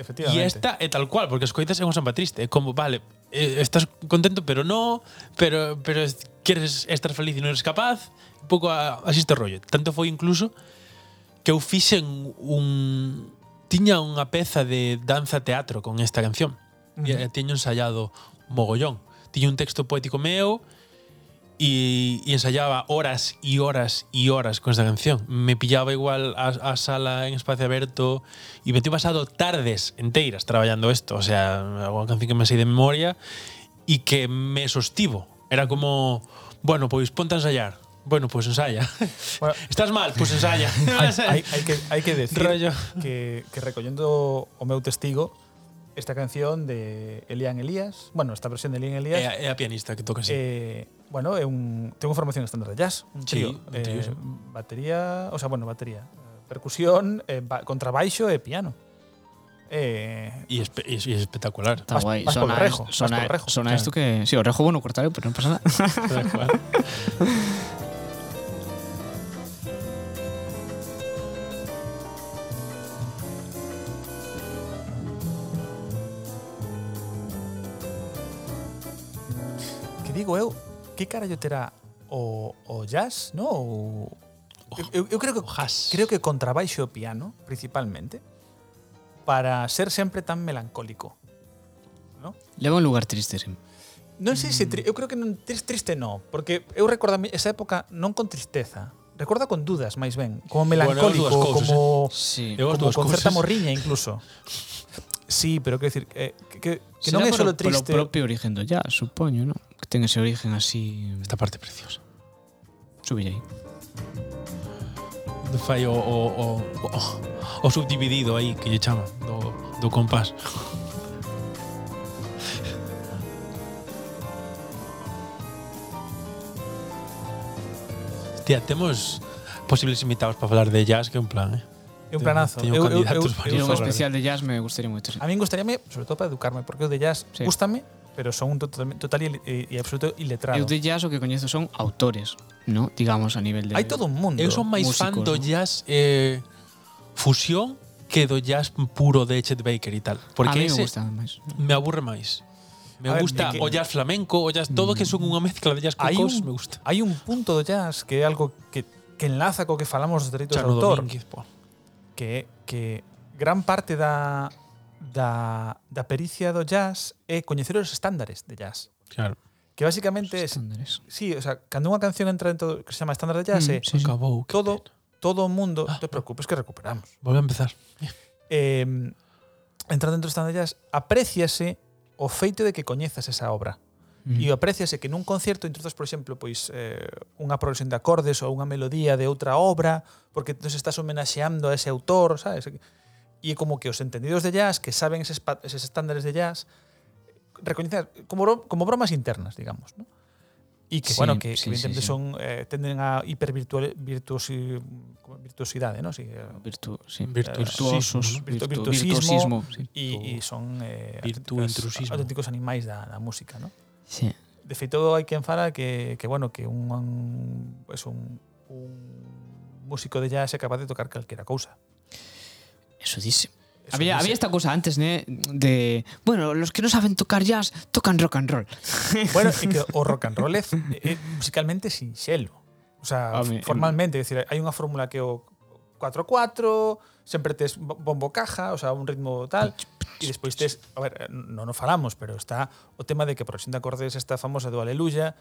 Speaker 2: Efectivamente.
Speaker 3: E esta é tal cual, porque escoitas é unha samba triste, é como, vale, eh, estás contento, pero no, pero pero es- queres estar feliz e non eres capaz, un pouco a- así este rollo. Tanto foi incluso que eu fixen un tiña unha peza de danza teatro con esta canción. E eh, tiño ensaiado mogollón. Tiña un texto poético meu e, e ensaiaba horas e horas e horas con esta canción. Me pillaba igual a, a sala en espacio aberto e me teño pasado tardes enteiras traballando isto, o sea, unha canción que me sei de memoria e que me sostivo. Era como, bueno, pois ponte a ensaiar. Bueno, pois ensaya.
Speaker 2: Bueno.
Speaker 3: Estás mal, pois ensaya.
Speaker 2: hai, hai, hai que, hai que decir
Speaker 3: Rollo.
Speaker 2: que, que recollendo o meu testigo esta canción de Elian Elías, bueno, esta versión de Elian Elías,
Speaker 3: É, a- é Eh, a pianista que toca así.
Speaker 2: eh, bueno, é un, ten unha formación estándar de jazz, un
Speaker 3: Sí,
Speaker 2: trío, eh,
Speaker 3: un trío, sí.
Speaker 2: batería, o sea, bueno, batería, eh, percusión, eh, ba- contrabaixo e piano. Eh,
Speaker 3: E espe- e es, e es espectacular.
Speaker 2: Vas-
Speaker 1: Está guai.
Speaker 2: vas polo
Speaker 1: Sona,
Speaker 2: rejo, vas
Speaker 1: sona,
Speaker 2: polo rejo,
Speaker 1: sona
Speaker 3: claro.
Speaker 1: isto que... Sí, o rejo bueno cortario, pero non pasa nada.
Speaker 3: Tal cual.
Speaker 2: que digo eu, que carallo terá o, o jazz, no? O, eu, eu creo que
Speaker 3: o jazz.
Speaker 2: creo que contrabaixo e piano, principalmente, para ser sempre tan melancólico.
Speaker 1: Leva un lugar triste, sí.
Speaker 2: Non sei se
Speaker 3: Mm.
Speaker 2: tri, eu creo que non triste, triste no, porque eu recordo a mi- esa época non con tristeza, recorda con dudas máis ben, como
Speaker 3: Bueno, as
Speaker 2: melancólico,
Speaker 3: dúas
Speaker 2: bueno,
Speaker 3: cousas, eh.
Speaker 2: como
Speaker 1: Sí.
Speaker 3: Eu as
Speaker 2: como
Speaker 3: dúas
Speaker 2: con certa
Speaker 3: cousas.
Speaker 2: morriña incluso. Sí, pero quero decir eh, que, que, que non
Speaker 1: Será
Speaker 2: é
Speaker 1: polo-
Speaker 2: solo triste.
Speaker 1: Polo propio origen do jazz, supoño, non? Que ten ese origen así...
Speaker 3: Esta parte preciosa.
Speaker 1: Subir aí.
Speaker 3: Do fai o, o, o, o, o subdividido aí que lle chama do, do compás. Tía, temos posibles invitados para falar de jazz que é un plan, eh?
Speaker 2: É un planazo.
Speaker 3: Teño
Speaker 2: Eu- eu-
Speaker 3: candidatos
Speaker 2: eu-
Speaker 3: varios.
Speaker 1: Yo
Speaker 2: eu
Speaker 1: un
Speaker 2: sou- Ah,
Speaker 1: especial de jazz me gustaría moito. sí.
Speaker 2: A min gustaríame, sobre todo para educarme, porque o de jazz
Speaker 1: Sí.
Speaker 2: gustame, pero son un total, total e, e absoluto iletrado.
Speaker 1: Eu de jazz o que coñezo son autores, ¿no? digamos, a nivel de...
Speaker 2: Hai todo un mundo.
Speaker 3: Eu son máis fan
Speaker 1: músicos,
Speaker 3: do
Speaker 1: ¿no?
Speaker 3: jazz eh, fusión que do jazz puro de Chet Baker e tal.
Speaker 1: Porque a
Speaker 3: Porque
Speaker 1: mí me
Speaker 3: ese
Speaker 1: gusta máis.
Speaker 3: me aburre máis. Me
Speaker 2: A ver, é
Speaker 3: gusta
Speaker 2: que-
Speaker 3: o jazz flamenco, o jazz todo que son unha mezcla de jazz con
Speaker 2: Hai
Speaker 3: cosas,
Speaker 2: un-
Speaker 3: me gusta.
Speaker 2: hai un punto do jazz que é algo que, que enlaza co que falamos dos dereitos de
Speaker 3: Chano
Speaker 2: autor,
Speaker 3: Domínguez, pô.
Speaker 2: que que gran parte da da da pericia do jazz é coñecer os estándares de jazz.
Speaker 3: Claro.
Speaker 2: que básicamente es.
Speaker 1: Estándares.
Speaker 2: Sí, o sea, cuando una canción entra dentro que se llama estándar de jazz,
Speaker 1: Mm,
Speaker 2: eh,
Speaker 1: sí, Ah. sí.
Speaker 3: Acabou, qué
Speaker 2: todo,
Speaker 3: pena.
Speaker 2: todo o mundo, no te preocupes que recuperamos.
Speaker 3: Volve a empezar.
Speaker 2: Eh, entrar dentro de estándar de jazz, apréciase o feito de que coñezas esa obra. E apréciase que nun concerto introduces, por exemplo, pois eh, unha progresión de acordes ou unha melodía de outra obra, porque entón estás homenaxeando a ese autor, sabes? E como que os entendidos de jazz, que saben eses, pa- eses estándares de jazz, recoñecen como, bro- como bromas internas, digamos, ¿no? E que,
Speaker 1: Sí,
Speaker 2: bueno, que,
Speaker 1: sí,
Speaker 2: que evidentemente
Speaker 1: sí, sí.
Speaker 2: son eh, tenden a hipervirtual virtuosi, como virtuosidade, ¿no? Sí, eh,
Speaker 1: Virtu- sí.
Speaker 3: Virtuosismo.
Speaker 1: virtuosos.
Speaker 2: Virtu-
Speaker 1: virtu-
Speaker 2: virtuosismo.
Speaker 1: virtuosismo. sí.
Speaker 2: E, e son eh,
Speaker 3: Virtu
Speaker 2: auténticas-
Speaker 3: intrusismo.
Speaker 2: auténticos animais da, da música, ¿no?
Speaker 1: Sí.
Speaker 2: de feito hai quen fala que, que bueno, que un, un es un, un músico de jazz é capaz de tocar calquera cousa.
Speaker 1: Eso dice.
Speaker 2: Eso
Speaker 1: Había,
Speaker 2: dice.
Speaker 1: había esta cosa antes, ¿eh? De. Bueno, los que no saben tocar jazz tocan rock and roll.
Speaker 2: Bueno, e que o rock and roll é, é musicalmente sinxelo. O sea,
Speaker 1: A mí-
Speaker 2: formalmente, é dicir, hai unha fórmula que é o 4-4, sempre tes bo- bombo caja, o sea, un ritmo tal, e despois tes, a ver, non o falamos, pero está o tema de que a progresión de acordes esta famosa do Aleluya,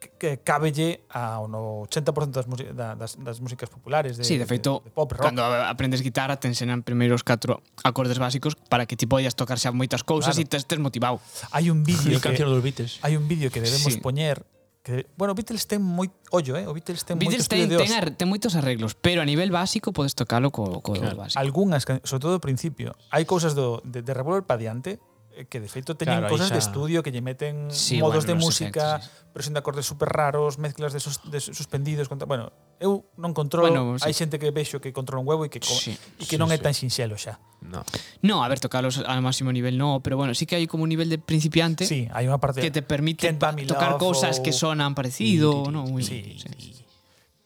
Speaker 2: que, que cabelle ao no 80% das, musi- da- das, das músicas populares de,
Speaker 1: sí, de feito,
Speaker 2: de pop rock.
Speaker 1: cando a- aprendes guitarra te enseñan primeiro os catro acordes básicos para que ti poidas tocar xa moitas cousas
Speaker 2: Claro.
Speaker 1: e claro. tes motivado.
Speaker 2: Hai un vídeo
Speaker 3: El
Speaker 2: que,
Speaker 3: canción dos Beatles.
Speaker 2: hai un vídeo que debemos
Speaker 1: Sí.
Speaker 2: poñer que bueno, Beatles ten moi ollo, eh, o Beatles ten
Speaker 1: Beatles
Speaker 2: moito estudio
Speaker 1: ten,
Speaker 2: de
Speaker 1: ten,
Speaker 2: os.
Speaker 1: ar- ten moitos arreglos, pero a nivel básico podes tocalo co, co
Speaker 3: Claro.
Speaker 1: básico.
Speaker 2: Algunhas, can- sobre todo ao principio, hai cousas do de, de Revolver pa diante eh, que de feito teñen
Speaker 3: Claro, aí
Speaker 2: cousas de
Speaker 3: xa-
Speaker 2: estudio que lle meten
Speaker 1: Sí,
Speaker 2: modos de
Speaker 1: bueno, los
Speaker 2: música,
Speaker 1: efectos, sí,
Speaker 2: presión de acordes super raros, mezclas de, sus, de suspendidos, contra, bueno, eu non controlo,
Speaker 1: Bueno, sí.
Speaker 2: hai xente que vexo que controla un huevo e que co-
Speaker 1: Sí,
Speaker 2: e que
Speaker 3: sí,
Speaker 2: non é
Speaker 3: sí.
Speaker 2: tan sinxelo xa.
Speaker 3: No.
Speaker 1: No, a ver, tocalos al máximo nivel no, pero bueno, sí que hai como un nivel de principiante
Speaker 2: Sí, hai unha parte
Speaker 1: que te permite
Speaker 2: Can't Buy Me
Speaker 1: tocar
Speaker 2: Love
Speaker 1: cousas
Speaker 2: ou-
Speaker 1: que sonan parecido,
Speaker 3: Sí,
Speaker 1: ¿no? Muy,
Speaker 2: sí,
Speaker 1: sí.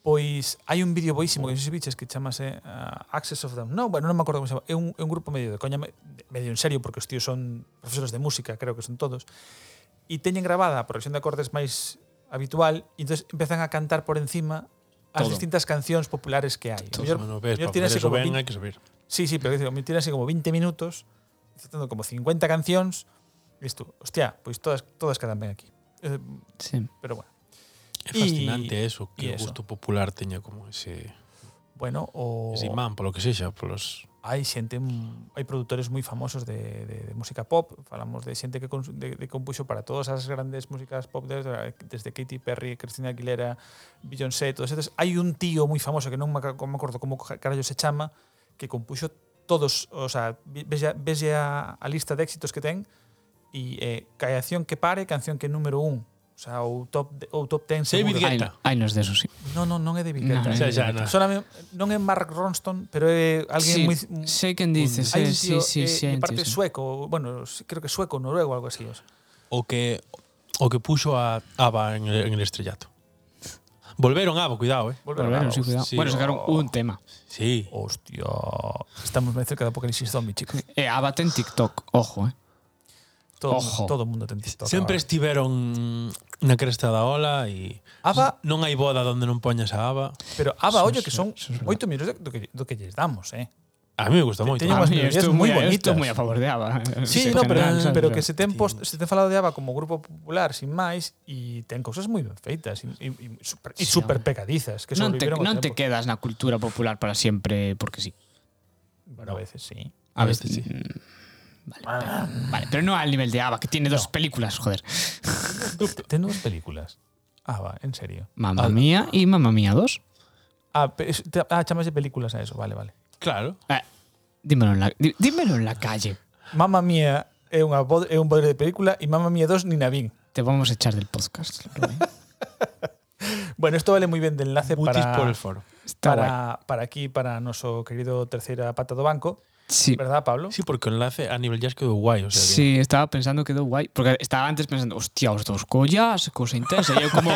Speaker 2: Pois hai un vídeo boísimo que non sei se biches que chamase ah, Access of Them. No, bueno, non me acordo como se chama. É un, é un grupo medio de coña, me- medio en serio, porque os tíos son profesores de música, creo que son todos. E teñen grabada a progresión de acordes máis habitual e entonces empezan a cantar por encima as
Speaker 1: Todo.
Speaker 2: distintas cancións populares que hai. O
Speaker 3: Yo,
Speaker 2: mellor- o
Speaker 3: bueno, ves,
Speaker 2: mellor
Speaker 3: para
Speaker 2: tiene
Speaker 3: poder
Speaker 2: así
Speaker 3: eso
Speaker 2: como
Speaker 3: ven,
Speaker 2: 20
Speaker 3: hay que subir.
Speaker 2: Sí, sí, pero que digo, me tiene así como 20 minutos, citando como 50 cancións, e tú, hostia, pois todas todas quedan ben aquí. Eh,
Speaker 1: sí.
Speaker 2: pero bueno.
Speaker 3: Es
Speaker 2: Y-
Speaker 3: fascinante eso, que
Speaker 2: y
Speaker 3: el
Speaker 2: eso.
Speaker 3: gusto popular tenía como ese,
Speaker 2: Bueno, o
Speaker 3: ese imán, por lo que sea, por los...
Speaker 2: hai xente m- hai produtores moi famosos de, de, de música pop falamos de xente que cons- de, de compuxo para todas as grandes músicas pop desde, desde Katy Perry, Cristina Aguilera Beyoncé, todos estes hai un tío moi famoso que non me, aca- me acordo como ca- carallo se chama que compuxo todos o sea, vi- ves, ya, ves ya a lista de éxitos que ten e eh, canción que pare, canción que número un o sea, o top, de- ou top 10
Speaker 3: David
Speaker 2: seguro.
Speaker 1: Hai,
Speaker 3: Guetta.
Speaker 1: hai nos desos, sí.
Speaker 2: Non, non, non é David
Speaker 1: No,
Speaker 2: Guetta.
Speaker 1: non é
Speaker 3: O sea, ya, no.
Speaker 2: Sóname- non é Mark Ronston, pero é
Speaker 1: sí,
Speaker 2: alguén moi
Speaker 1: sei quen dices, eh,
Speaker 2: Hay un tío,
Speaker 1: sí, sí,
Speaker 2: eh,
Speaker 1: sí, hai
Speaker 2: de
Speaker 1: un
Speaker 2: parte
Speaker 1: tío, sí.
Speaker 2: sueco, bueno, sí, creo que sueco, noruego, algo así. o sea.
Speaker 3: O que, o que puso a Ava en el, en el estrellato. Volveron Ava, cuidado, eh.
Speaker 2: Volver a
Speaker 1: Volveron,
Speaker 2: grabar.
Speaker 1: sí, cuidado.
Speaker 3: sí.
Speaker 1: bueno, sacaron
Speaker 2: Oh.
Speaker 1: un tema.
Speaker 3: Sí.
Speaker 2: Hostia, estamos más cerca de Apocalipsis Zombie, chicos.
Speaker 1: Eh, Abate en TikTok, ojo, eh.
Speaker 2: Todo,
Speaker 1: Ojo.
Speaker 2: todo mundo ten TikTok.
Speaker 3: Sempre
Speaker 2: ahora.
Speaker 3: estiveron na cresta da ola e
Speaker 2: Ava-
Speaker 3: non hai boda onde non poñas a Ava.
Speaker 2: Pero Aba,
Speaker 1: Sí,
Speaker 2: oye, que
Speaker 1: sí,
Speaker 2: son
Speaker 1: sí, es verdad.
Speaker 2: 8 minutos do que, do que lles damos, eh.
Speaker 3: A mí me gusta moito.
Speaker 2: teño
Speaker 1: A
Speaker 2: unhas
Speaker 1: mí
Speaker 2: melodías
Speaker 1: estou
Speaker 2: moi
Speaker 1: a-
Speaker 2: bonitas.
Speaker 1: estou moi a favor de eh, Ava.
Speaker 2: Sí, no, pero, pero que se ten post, se ten falado de Aba como grupo popular, sin máis, e ten cousas moi ben feitas e, e, e super,
Speaker 1: Sí,
Speaker 2: e
Speaker 1: hombre.
Speaker 2: super pegadizas que
Speaker 1: non te,
Speaker 2: sobrevivieron ao
Speaker 1: non te
Speaker 2: tempo.
Speaker 1: quedas na cultura popular para sempre porque sí.
Speaker 2: Bueno, a veces sí.
Speaker 1: A
Speaker 3: A
Speaker 1: veces
Speaker 3: veces sí.
Speaker 1: mm, Vale, pero, vale, pero no al nivel de Ava, que tiene dos películas, joder.
Speaker 2: Ten dúas películas. Aba, en serio.
Speaker 1: Mamma Mía y Mamma Mía 2.
Speaker 2: Ah, pe- es- te- ah, chamas de películas a eso, vale, vale.
Speaker 3: Claro.
Speaker 1: Eh, dímelo, en la, di- dímelo en la calle.
Speaker 2: Mamma Mía é, unha, bod- é un bodre de película e Mamma Mía 2 Nina Bin.
Speaker 1: Te vamos a echar del podcast. Rubén.
Speaker 2: Bueno, isto vale moi ben de enlace
Speaker 3: Mutis
Speaker 2: para,
Speaker 3: por el foro.
Speaker 1: Está guai.
Speaker 2: para, para aquí, para noso querido terceira pata do banco.
Speaker 1: Sí.
Speaker 2: ¿Verdad, Pablo?
Speaker 3: Sí, porque o enlace a nivel jazz quedou guai, o sea que...
Speaker 1: Sí, estaba pensando que quedó guay. Porque estaba antes pensando, hostia, os dos collas, cosa intensa. Yo como,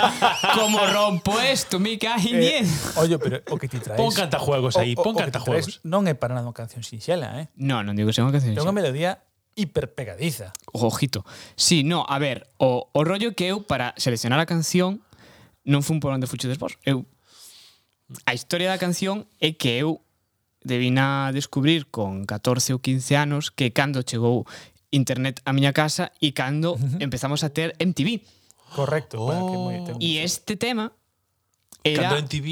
Speaker 1: como rompo esto, me cae en
Speaker 2: Eh,
Speaker 1: 10.
Speaker 2: ollo, pero o que ti traes...
Speaker 3: Pon cantajuegos aí,
Speaker 2: o- o-
Speaker 3: pon
Speaker 2: o que ti traes
Speaker 3: cantajuegos.
Speaker 2: Non é para nada unha canción sinxela, eh?
Speaker 1: No, no digo que sea una canción.
Speaker 2: É unha melodía hiper pegadiza.
Speaker 1: Ojito. Sí, no, a ver, o, o rollo que eu para seleccionar a canción non fun por onde fuche despois. Eu a historia da canción é que eu debina descubrir con 14 ou 15 anos que cando chegou internet á miña casa e cando empezamos a ter MTV.
Speaker 2: Correcto. bueno, que
Speaker 3: Oh.
Speaker 2: moi- ten-
Speaker 1: Y este tema era
Speaker 3: Cando en TV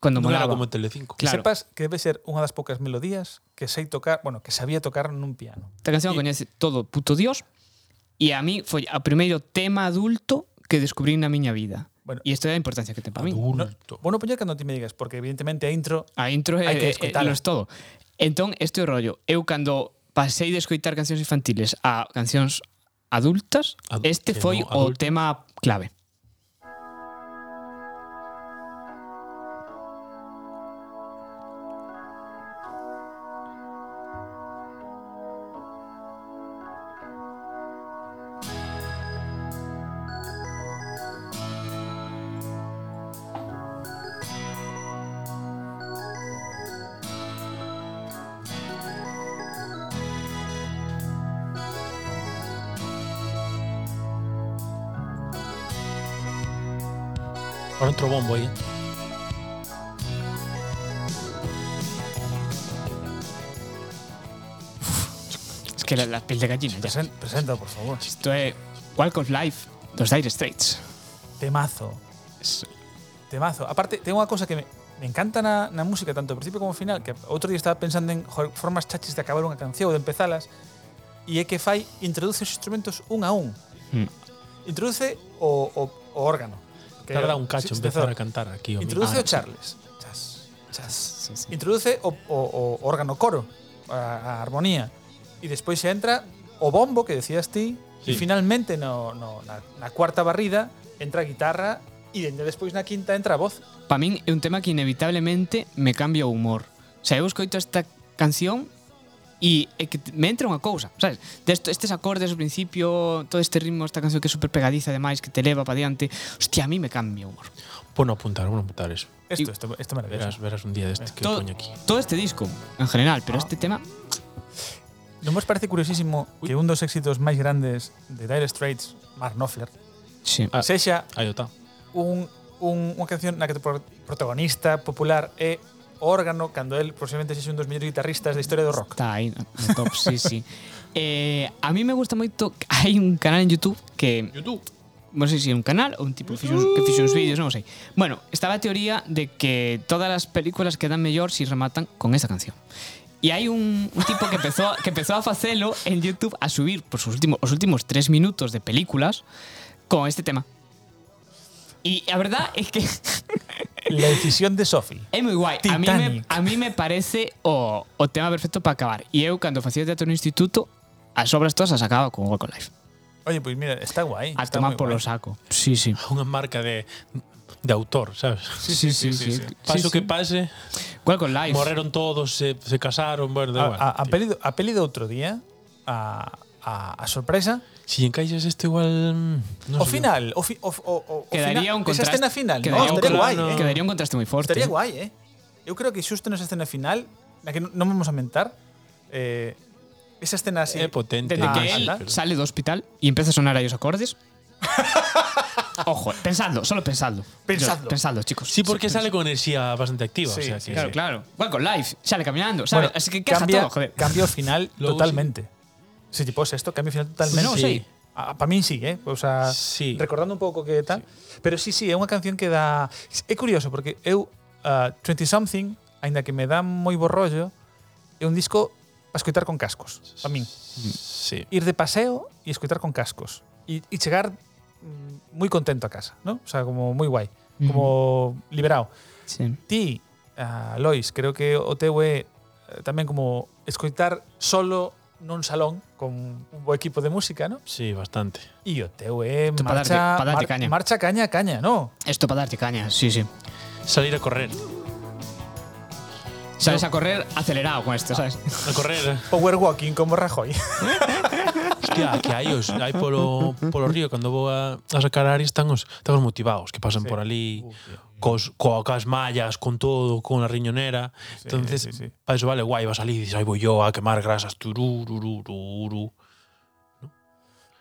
Speaker 1: cuando
Speaker 3: non era
Speaker 1: molaba.
Speaker 3: como en Telecinco.
Speaker 2: Que
Speaker 1: Claro.
Speaker 2: sepas que debe ser unha das poucas melodías que sei tocar, bueno, que sabía tocar nun piano.
Speaker 1: Esta canción a
Speaker 2: Y-
Speaker 1: coñece todo puto Dios e a mí foi o primeiro tema adulto que descubrí na miña vida.
Speaker 2: Bueno.
Speaker 1: e isto é a importancia que ten para min.
Speaker 3: Adulto.
Speaker 2: Bueno, poñer cando ti me digas, porque evidentemente a intro
Speaker 1: A intro é,
Speaker 2: Hai
Speaker 1: é, é
Speaker 2: que escoitala.
Speaker 1: lo es todo. Entón, este é o rollo. Eu cando pasei de escoitar cancións infantiles a cancións adultas,
Speaker 3: Adu-
Speaker 1: este
Speaker 3: que
Speaker 1: foi
Speaker 3: non
Speaker 1: o
Speaker 3: adulto.
Speaker 1: tema clave.
Speaker 3: Ahora otro bombo ahí.
Speaker 1: Es que la, la piel de gallina. ya.
Speaker 2: presen, presenta, por favor.
Speaker 1: Isto é Walk of Life dos Dire Straits.
Speaker 2: Temazo.
Speaker 1: Es-
Speaker 2: Temazo. Aparte, tengo una cosa que me, me encanta na, na música, tanto al principio como al final, que outro día estaba pensando en joder, formas chachis de acabar unha canción ou de empezalas, e é que fai introduce os instrumentos un a un.
Speaker 1: Mm.
Speaker 2: Introduce o, o, o órgano. Que
Speaker 3: Tarda un cacho
Speaker 2: si-
Speaker 3: empezar a
Speaker 2: si-
Speaker 3: cantar aquí. hombre.
Speaker 2: Introduce
Speaker 1: Ah,
Speaker 2: o Charles. Chas, chas.
Speaker 1: sí, sí.
Speaker 2: Introduce o, o, o órgano coro, a, a armonía. E despois se entra o bombo que decías ti, sí. e
Speaker 3: Sí.
Speaker 2: finalmente no, no, na, na cuarta barrida entra a guitarra e dende despois na quinta entra a voz.
Speaker 1: Para min é un tema que inevitablemente me cambia o humor. O sea, eu escoito esta canción e é que me entra unha cousa, sabes? Desto, estes acordes ao principio, todo este ritmo, esta canción que é super pegadiza ademais, que te leva para diante, hostia, a mí me cambia o humor.
Speaker 3: Bueno, apuntar, bueno, apuntar eso.
Speaker 2: Isto, isto, isto é maravilloso.
Speaker 3: Verás, verás un día de este que
Speaker 1: todo,
Speaker 3: coño aquí.
Speaker 1: todo este disco, en general, pero este tema,
Speaker 2: Non vos parece curiosísimo que un dos éxitos máis grandes de Dire Straits, Mark Knopfler,
Speaker 1: sí.
Speaker 3: Ah.
Speaker 2: sexa
Speaker 3: Ahí está.
Speaker 2: un, un, unha canción na que o pro- protagonista popular é o órgano cando el posiblemente sexa un dos mellores guitarristas da historia do rock.
Speaker 1: Está aí no no top, sí, sí. Eh, a mí me gusta moito hai un canal en YouTube que
Speaker 3: YouTube.
Speaker 1: non sei se é un canal ou un tipo que fixe uns, que fixe uns vídeos, non o sei. Bueno, estaba a teoría de que todas as películas quedan mellor se si rematan con esa canción. E hai un, un tipo que empezou, que empezou a facelo en YouTube a subir por os últimos, os últimos tres minutos de películas con este tema. E a verdad é que
Speaker 2: La decisión de Sophie.
Speaker 1: É moi guai. A mí, me,
Speaker 2: Titanic.
Speaker 1: a mí me parece o, o tema perfecto para acabar. E eu, cando facía teatro no instituto, as obras todas as acababa con Walk on Life.
Speaker 2: Oye, pois mira, está guai.
Speaker 1: A
Speaker 2: está
Speaker 1: tomar
Speaker 2: moi
Speaker 1: polo
Speaker 2: guai.
Speaker 1: saco. Sí, sí.
Speaker 3: Una marca de, de autor, ¿sabes?
Speaker 1: Sí, sí, sí. sí, sí,
Speaker 3: Paso que pase,
Speaker 1: Walk on Life.
Speaker 3: morreron todos, se, se casaron, bueno, da igual.
Speaker 2: A, a, a, peli, do- a peli do outro día, a, a, a sorpresa,
Speaker 3: Si encaixas esto este igual... mm, No
Speaker 2: o
Speaker 3: sé
Speaker 2: final, o, fi, o, o, o, o
Speaker 1: Quedaría
Speaker 2: final,
Speaker 1: un contraste.
Speaker 2: Esa escena final,
Speaker 1: Quedaría,
Speaker 2: no,
Speaker 1: un,
Speaker 2: estaría
Speaker 1: cla-
Speaker 2: guai,
Speaker 1: no.
Speaker 2: eh?
Speaker 1: quedaría un contraste moi forte.
Speaker 2: Estaría guai, eh? Eu creo que xusto nesa escena final, na que non non vamos a mentar, eh, esa escena así...
Speaker 3: qué. É Eh, potente.
Speaker 1: Dende
Speaker 2: Ah,
Speaker 1: que
Speaker 2: sí,
Speaker 1: él
Speaker 2: claro.
Speaker 1: sale do hospital e empeza a sonar aí os acordes. Ojo, eh, pensadlo, solo pensadlo.
Speaker 2: Pensadlo.
Speaker 1: Pensadlo, chicos.
Speaker 3: Sí, porque sale con energía bastante activa.
Speaker 2: Sí,
Speaker 3: o sea
Speaker 2: sí,
Speaker 3: que,
Speaker 1: Claro, claro. Walk on Life, sale caminando, ¿sabes? Así que caja
Speaker 2: cambia,
Speaker 1: todo, joder.
Speaker 2: Cambio final
Speaker 3: Logo
Speaker 2: totalmente. Se tipo esto, cambio final totalmente.
Speaker 1: Menos
Speaker 3: Sí.
Speaker 1: sei.
Speaker 2: Para min sí, eh? O sea,
Speaker 3: Sí.
Speaker 2: recordando un pouco que tal. Pero sí, sí, é unha canción que dá... É curioso, porque eu, uh, 20 Something, aínda que me dá moi bo rollo, é un disco para escoitar con cascos, para min.
Speaker 3: Sí.
Speaker 2: Ir de paseo e escoitar con cascos. E, e chegar mm, moi contento a casa, ¿no? O sea, como moi guai, como liberado.
Speaker 1: Sí.
Speaker 2: Ti, uh, Lois, creo que o teu é eh, tamén como escoitar solo nun salón con un bo equipo de música, ¿no?
Speaker 3: Sí, bastante.
Speaker 2: E o teu é
Speaker 1: Te pa darte-
Speaker 2: marcha,
Speaker 1: pa darte
Speaker 2: mar-
Speaker 1: caña.
Speaker 2: marcha caña, caña, no?
Speaker 1: Esto para darte caña, sí, sí.
Speaker 3: Salir a correr.
Speaker 1: Sales a correr acelerado con esto, ¿sabes?
Speaker 3: A correr.
Speaker 2: Power walking como Rajoy.
Speaker 3: Hostia, que hai os, hai polo, polo río cando vou a, a sacar a Aries están os, están os motivados que pasan sí. por ali cos, co, cas mallas, con todo, con la riñonera. Sí, Entonces,
Speaker 2: sí,
Speaker 3: sí,
Speaker 2: sí.
Speaker 3: sí. para eso vale guai, vas a salir, dices, aí vou yo a quemar grasas, turururururu.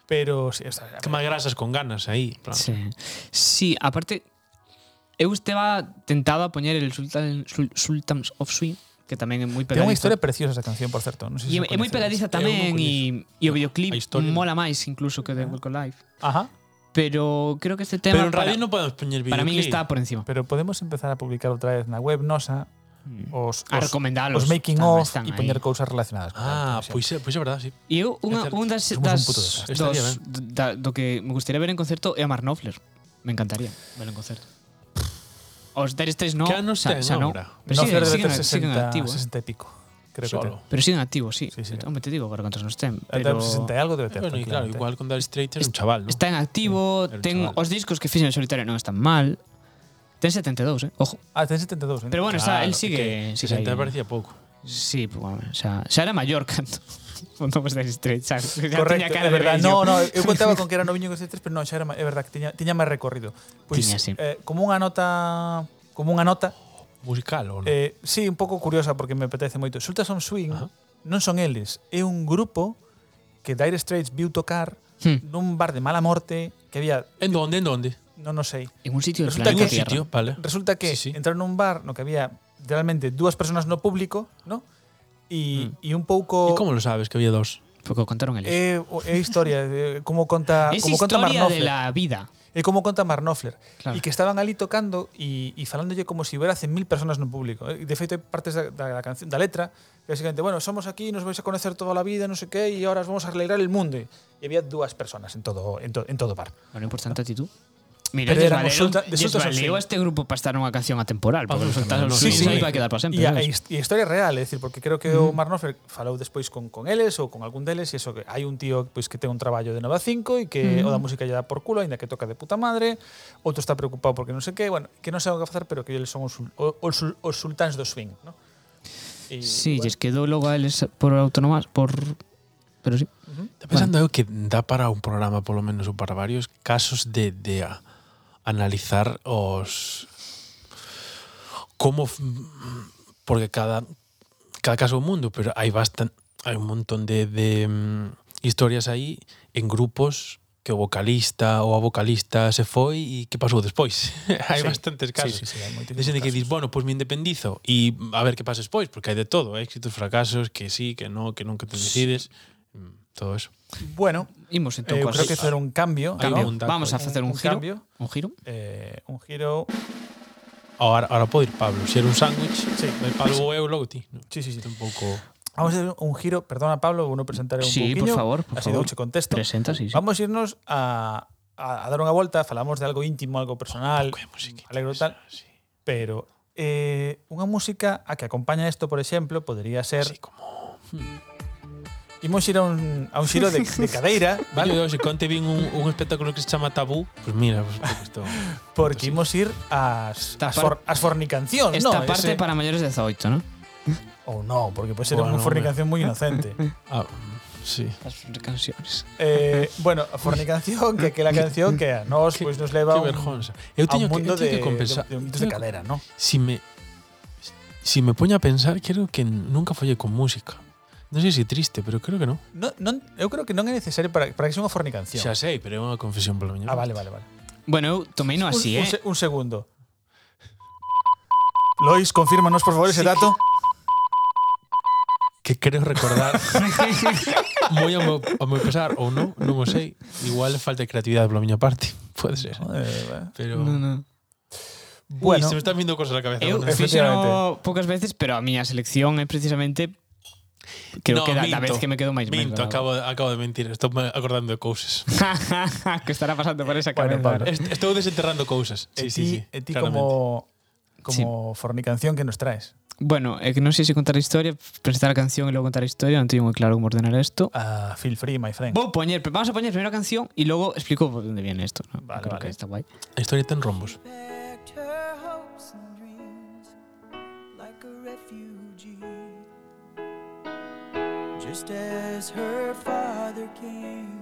Speaker 2: Pero sí, está, a ver,
Speaker 3: Quemar grasas con ganas aí. en plan.
Speaker 1: Sí. Sí, aparte, eu estaba tentado a poñer el Sultan, Sul- Sultans of Swing, que tamén é moi
Speaker 2: ten
Speaker 1: pegadiza.
Speaker 2: unha historia preciosa esa canción, por certo. Non
Speaker 1: E
Speaker 2: sei
Speaker 1: é é
Speaker 2: se
Speaker 1: moi
Speaker 2: coñecedes.
Speaker 1: pegadiza
Speaker 3: Eu non
Speaker 1: tamén e, e o videoclip
Speaker 3: a historia non.
Speaker 1: mola máis incluso que o de Walk on Life.
Speaker 2: Ajá.
Speaker 1: Pero creo que este tema.
Speaker 3: Pero en
Speaker 1: para-
Speaker 3: radio no podemos poner
Speaker 1: para mí
Speaker 3: videoclip.
Speaker 1: está por encima.
Speaker 2: Pero podemos empezar a publicar outra vez na web nosa os,
Speaker 1: A
Speaker 2: os,
Speaker 1: recomendalos.
Speaker 2: os making
Speaker 1: Tamén
Speaker 2: of
Speaker 1: están
Speaker 2: e
Speaker 1: aí.
Speaker 2: poñer cousas relacionadas.
Speaker 3: Ah, pois é, pois é verdade, sí.
Speaker 1: E eu unha,
Speaker 3: Certo.
Speaker 1: un das,
Speaker 2: Somos
Speaker 1: das
Speaker 2: un puto desastre.
Speaker 1: dos,
Speaker 3: Estaría
Speaker 1: da, do que me gustaría ver en concerto é a Mark Knopfler. Me encantaría ver en concerto. Os Dire Straits no,
Speaker 3: Que anos
Speaker 1: xa,
Speaker 3: ten
Speaker 1: xa non.
Speaker 3: agora?
Speaker 1: Pero
Speaker 2: no
Speaker 1: pois siguen,
Speaker 2: Fer
Speaker 1: siguen,
Speaker 2: debe ter
Speaker 1: siguen
Speaker 2: 60,
Speaker 1: activos. eh.
Speaker 2: 60 e pico. Creo
Speaker 3: Solo.
Speaker 1: Pero siguen activos, sí.
Speaker 2: Sí, sí.
Speaker 1: Hombre, te digo agora cantos nos ten.
Speaker 2: que ten.
Speaker 1: Pero... Eh,
Speaker 2: Pero... 60 e algo debe ter.
Speaker 3: Bueno, y claro,
Speaker 2: tranquilamente.
Speaker 3: igual con Dire Straits es un chaval, ¿no?
Speaker 1: Está en activo,
Speaker 3: Era un
Speaker 1: ten
Speaker 3: chaval.
Speaker 1: os discos que fixen en solitario non están mal. Ten 72, eh? Ojo.
Speaker 2: Ah, ten 72.
Speaker 1: Pero bueno, está,
Speaker 3: Claro,
Speaker 1: él
Speaker 3: que
Speaker 1: sigue... sigue
Speaker 3: 60
Speaker 1: aí.
Speaker 3: me parecía pouco.
Speaker 1: Sí, pues, bueno, xa, xa era maior canto. Cuando vos Dire Straits, xa, xa tiña
Speaker 2: Correcto,
Speaker 1: cara
Speaker 2: é
Speaker 1: de
Speaker 2: verdade.
Speaker 1: vello.
Speaker 2: No, no, eu contaba con que era noviño con 63, pero non, xa era, má- é verdade que tiña, tiña máis recorrido. Pois,
Speaker 1: Tiña, sí.
Speaker 2: eh, como unha nota como unha nota
Speaker 3: Musical, ¿o no?
Speaker 2: Eh, sí, un pouco curiosa porque me apetece moito. Sulta Son Swing
Speaker 3: Ajá.
Speaker 2: non son eles, é un grupo que Dire Straits viu tocar
Speaker 1: Hmm.
Speaker 2: nun bar de mala morte que había,
Speaker 3: en dónde, en dónde?
Speaker 2: non o sei.
Speaker 1: En un sitio del
Speaker 2: Resulta
Speaker 1: planeta
Speaker 2: que-
Speaker 1: Tierra.
Speaker 3: sitio, vale.
Speaker 2: Resulta que
Speaker 3: Sí, sí.
Speaker 2: entraron nun bar no que había realmente dúas persoas no público, ¿no? E mm. un pouco
Speaker 3: Hmm. ¿Y cómo lo sabes que había dos?
Speaker 1: Porque o contaron eles.
Speaker 2: é, o- é historia, é como conta,
Speaker 1: es
Speaker 2: como conta
Speaker 1: historia de
Speaker 2: Marnoffler.
Speaker 1: la vida.
Speaker 2: É como conta Marnoffler.
Speaker 1: Claro.
Speaker 2: E que estaban ali tocando e, e falándolle como se si houbera 100.000 personas no público. E de feito, hai partes da, da, da, canción, da letra que basicamente, bueno, somos aquí, nos vais a conocer toda la vida, non sei que, e ahora os vamos a alegrar el mundo. E había dúas personas en todo en, to, en todo o bar.
Speaker 1: Bueno, importante actitud. Mira,
Speaker 2: Ah. Pero
Speaker 1: lles
Speaker 2: éramos
Speaker 1: valeu,
Speaker 2: solta- de
Speaker 1: lles
Speaker 2: soltas ao
Speaker 1: valeu
Speaker 2: swing.
Speaker 1: a este grupo para estar nunha canción atemporal. Porque os
Speaker 3: Vamos,
Speaker 1: soltas os
Speaker 3: no,
Speaker 1: sí, sí,
Speaker 2: sí, sí.
Speaker 1: vai quedar para sempre.
Speaker 2: E a,
Speaker 1: sabes?
Speaker 2: e his- e a historia é real, é dicir, porque creo que o Marnoffler falou despois con, con eles ou con algún deles, e eso que hai un tío pois, que ten un traballo de 9 a 5 e que o da música lle dá por culo, aínda que toca de puta madre, outro está preocupado porque non sei que, bueno, que non sabe o que facer, pero que eles son os, sul- o- os, sul- os sultáns do swing, ¿no? E,
Speaker 1: Sí, lles quedou logo a eles por autonomás, por... Pero sí.
Speaker 3: Está pensando eu que dá para un programa, polo menos, ou para varios casos de, de a, analizar os... Como... f- Porque cada, cada caso é un mundo, pero hai bastan, hai un montón de, de mm, historias aí en grupos que o vocalista ou a vocalista se foi e que pasou despois. hai
Speaker 2: Sí.
Speaker 3: bastantes casos.
Speaker 2: Sí, sí, sí, hai moitísimos
Speaker 3: De xente que
Speaker 2: casos.
Speaker 3: dis, bueno, pois pues me independizo e a ver que pasa despois, porque hai de todo, ¿eh? éxitos, fracasos, que sí, que no, que nunca te decides, mm, todo eso.
Speaker 2: Bueno,
Speaker 1: Imos entón
Speaker 2: eh, eu
Speaker 1: coas-
Speaker 2: creo que facer un cambio,
Speaker 1: cambio.
Speaker 2: ¿no?
Speaker 3: un dato,
Speaker 1: Vamos a
Speaker 2: un-
Speaker 1: facer un,
Speaker 2: un
Speaker 1: giro.
Speaker 2: cambio.
Speaker 1: Un giro.
Speaker 2: Eh, un giro...
Speaker 3: Ahora, ahora puedo ir Pablo, si era un sándwich,
Speaker 2: Sí.
Speaker 3: vai Pablo ou eu logo ti. No,
Speaker 2: Sí, sí, sí.
Speaker 3: un pouco...
Speaker 2: Vamos a hacer un giro, perdona Pablo, uno presentaré un
Speaker 1: Sí, por
Speaker 2: poquillo.
Speaker 1: favor, por
Speaker 2: así
Speaker 1: favor.
Speaker 2: douche contexto.
Speaker 1: Presenta, sí, sí.
Speaker 2: Vamos a irnos a, a, a dar unha volta, falamos de algo íntimo, algo personal, alegro tal,
Speaker 3: Sí,
Speaker 2: pero eh, unha música a que acompaña isto, por exemplo, podería ser...
Speaker 3: sí, como...
Speaker 2: Imos ir a un, a un xiro de, de cadeira,
Speaker 3: Vale.
Speaker 2: vale?
Speaker 3: Yo, se conte vin un, un espectáculo que se chama Tabú, pues mira, pues, un pouco isto...
Speaker 2: Porque imos ir ás
Speaker 1: Esta
Speaker 2: as, for, as fornicancións,
Speaker 1: Esta
Speaker 2: no,
Speaker 1: parte para maiores de 18, ¿no?
Speaker 2: Ou no, porque pode ser
Speaker 3: Bueno,
Speaker 2: unha fornicación moi inocente.
Speaker 3: Ah, sí.
Speaker 1: As canciones.
Speaker 2: eh, bueno, a fornicación, que é aquela canción que a nós pois, nos leva a
Speaker 3: Que
Speaker 2: un,
Speaker 3: vergonza. Eu
Speaker 2: a un
Speaker 3: teño que,
Speaker 2: mundo
Speaker 3: eu teño
Speaker 2: de,
Speaker 3: que compensar.
Speaker 2: de, de, de,
Speaker 3: teño que-
Speaker 2: cadera, non?
Speaker 3: si me si me poño a pensar, creo que nunca follé con música. Non sei se é triste, pero creo que non.
Speaker 2: Non, non, eu creo que non é necesario para, para que sea unha fornicación.
Speaker 3: Xa sei, pero é unha confesión pola miña.
Speaker 2: ah, vale, vale, vale.
Speaker 1: Bueno, eu tomei no así,
Speaker 2: un,
Speaker 1: eh?
Speaker 2: un, se- un segundo. Lois, confírmanos, por favor, ese dato.
Speaker 3: Que creo recordar moi a meu, a meu pesar ou non, non o sei. Igual falta de creatividade pola miña parte, pode ser. Pero
Speaker 1: No, no.
Speaker 3: Ui,
Speaker 2: Bueno,
Speaker 3: se me están vindo cosas á cabeza.
Speaker 1: Eu
Speaker 3: agora.
Speaker 1: fixeno poucas veces, pero a miña selección é precisamente creo
Speaker 3: No,
Speaker 1: que da, da
Speaker 3: minto.
Speaker 1: vez que me quedo máis
Speaker 3: Minto,
Speaker 1: máis bravo.
Speaker 3: acabo, acabo de mentir, estou me acordando de cousas.
Speaker 1: que estará pasando por esa cabeza.
Speaker 2: Bueno, Pablo.
Speaker 3: Est- Estou desenterrando cousas.
Speaker 2: e ti,
Speaker 3: Sí, sí, sí.
Speaker 2: e ti
Speaker 3: claramente.
Speaker 2: como, como fornicación que nos traes.
Speaker 1: Bueno, é que non sei se contar a historia, presentar a canción e logo contar a historia, non teño moi claro como ordenar isto.
Speaker 2: Ah, feel free, my friend.
Speaker 1: Vou poñer, vamos a poñer primeiro a canción e logo explico por onde viene isto. ¿no?
Speaker 2: Vale,
Speaker 1: creo
Speaker 2: vale.
Speaker 1: que está guai.
Speaker 3: A historia ten rombos.
Speaker 4: packed her hopes and dreams like a refugee. Just as her father came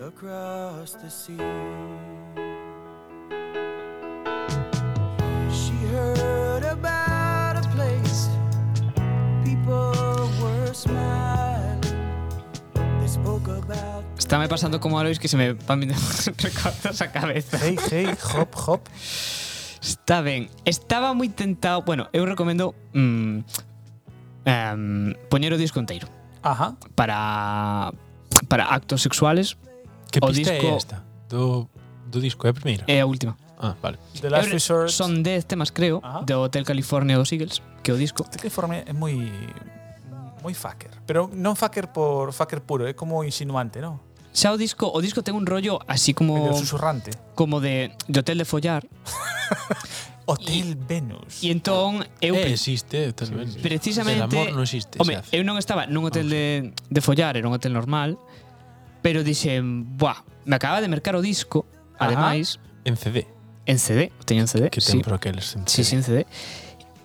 Speaker 4: across the sea, she heard about a place people were smiling. They spoke about
Speaker 1: Estáme pasando como a Lois que se me van vindo recordos a cabeza.
Speaker 2: Hey, hey, hop, hop.
Speaker 1: Está ben. Estaba moi tentado, bueno, eu recomendo mm, em, poñer o disco inteiro
Speaker 2: Ajá.
Speaker 1: para para actos sexuales
Speaker 3: Que
Speaker 1: O
Speaker 3: pista é
Speaker 1: disco- Eh,
Speaker 3: esta? do, do disco, é a primeira?
Speaker 1: É a última.
Speaker 3: Ah, vale.
Speaker 2: The Last Resort.
Speaker 1: Son 10 temas, creo,
Speaker 2: Ajá.
Speaker 1: do Hotel California dos Eagles, que é o disco.
Speaker 2: Este informe é moi moi fucker, pero non fucker por fucker puro, é como insinuante, non?
Speaker 1: Xa o disco, o disco ten un rollo así como
Speaker 2: Medio susurrante.
Speaker 1: como de, de hotel de follar
Speaker 2: Hotel Venus.
Speaker 1: e entón eu
Speaker 3: Eh,
Speaker 1: pre-
Speaker 3: existe, tal vez.
Speaker 1: precisamente
Speaker 3: El amor non existe.
Speaker 1: Home,
Speaker 3: xa.
Speaker 1: eu non estaba
Speaker 2: Ah,
Speaker 1: nun hotel de, de follar, era un hotel normal, pero dixen, buah, me acaba de mercar o disco,
Speaker 2: Ajá.
Speaker 1: ademais,
Speaker 3: En CD.
Speaker 1: en CD, o teño en CD,
Speaker 3: Que
Speaker 1: sí,
Speaker 3: ten por aqueles. en
Speaker 1: sí, sí, en CD,
Speaker 3: CD.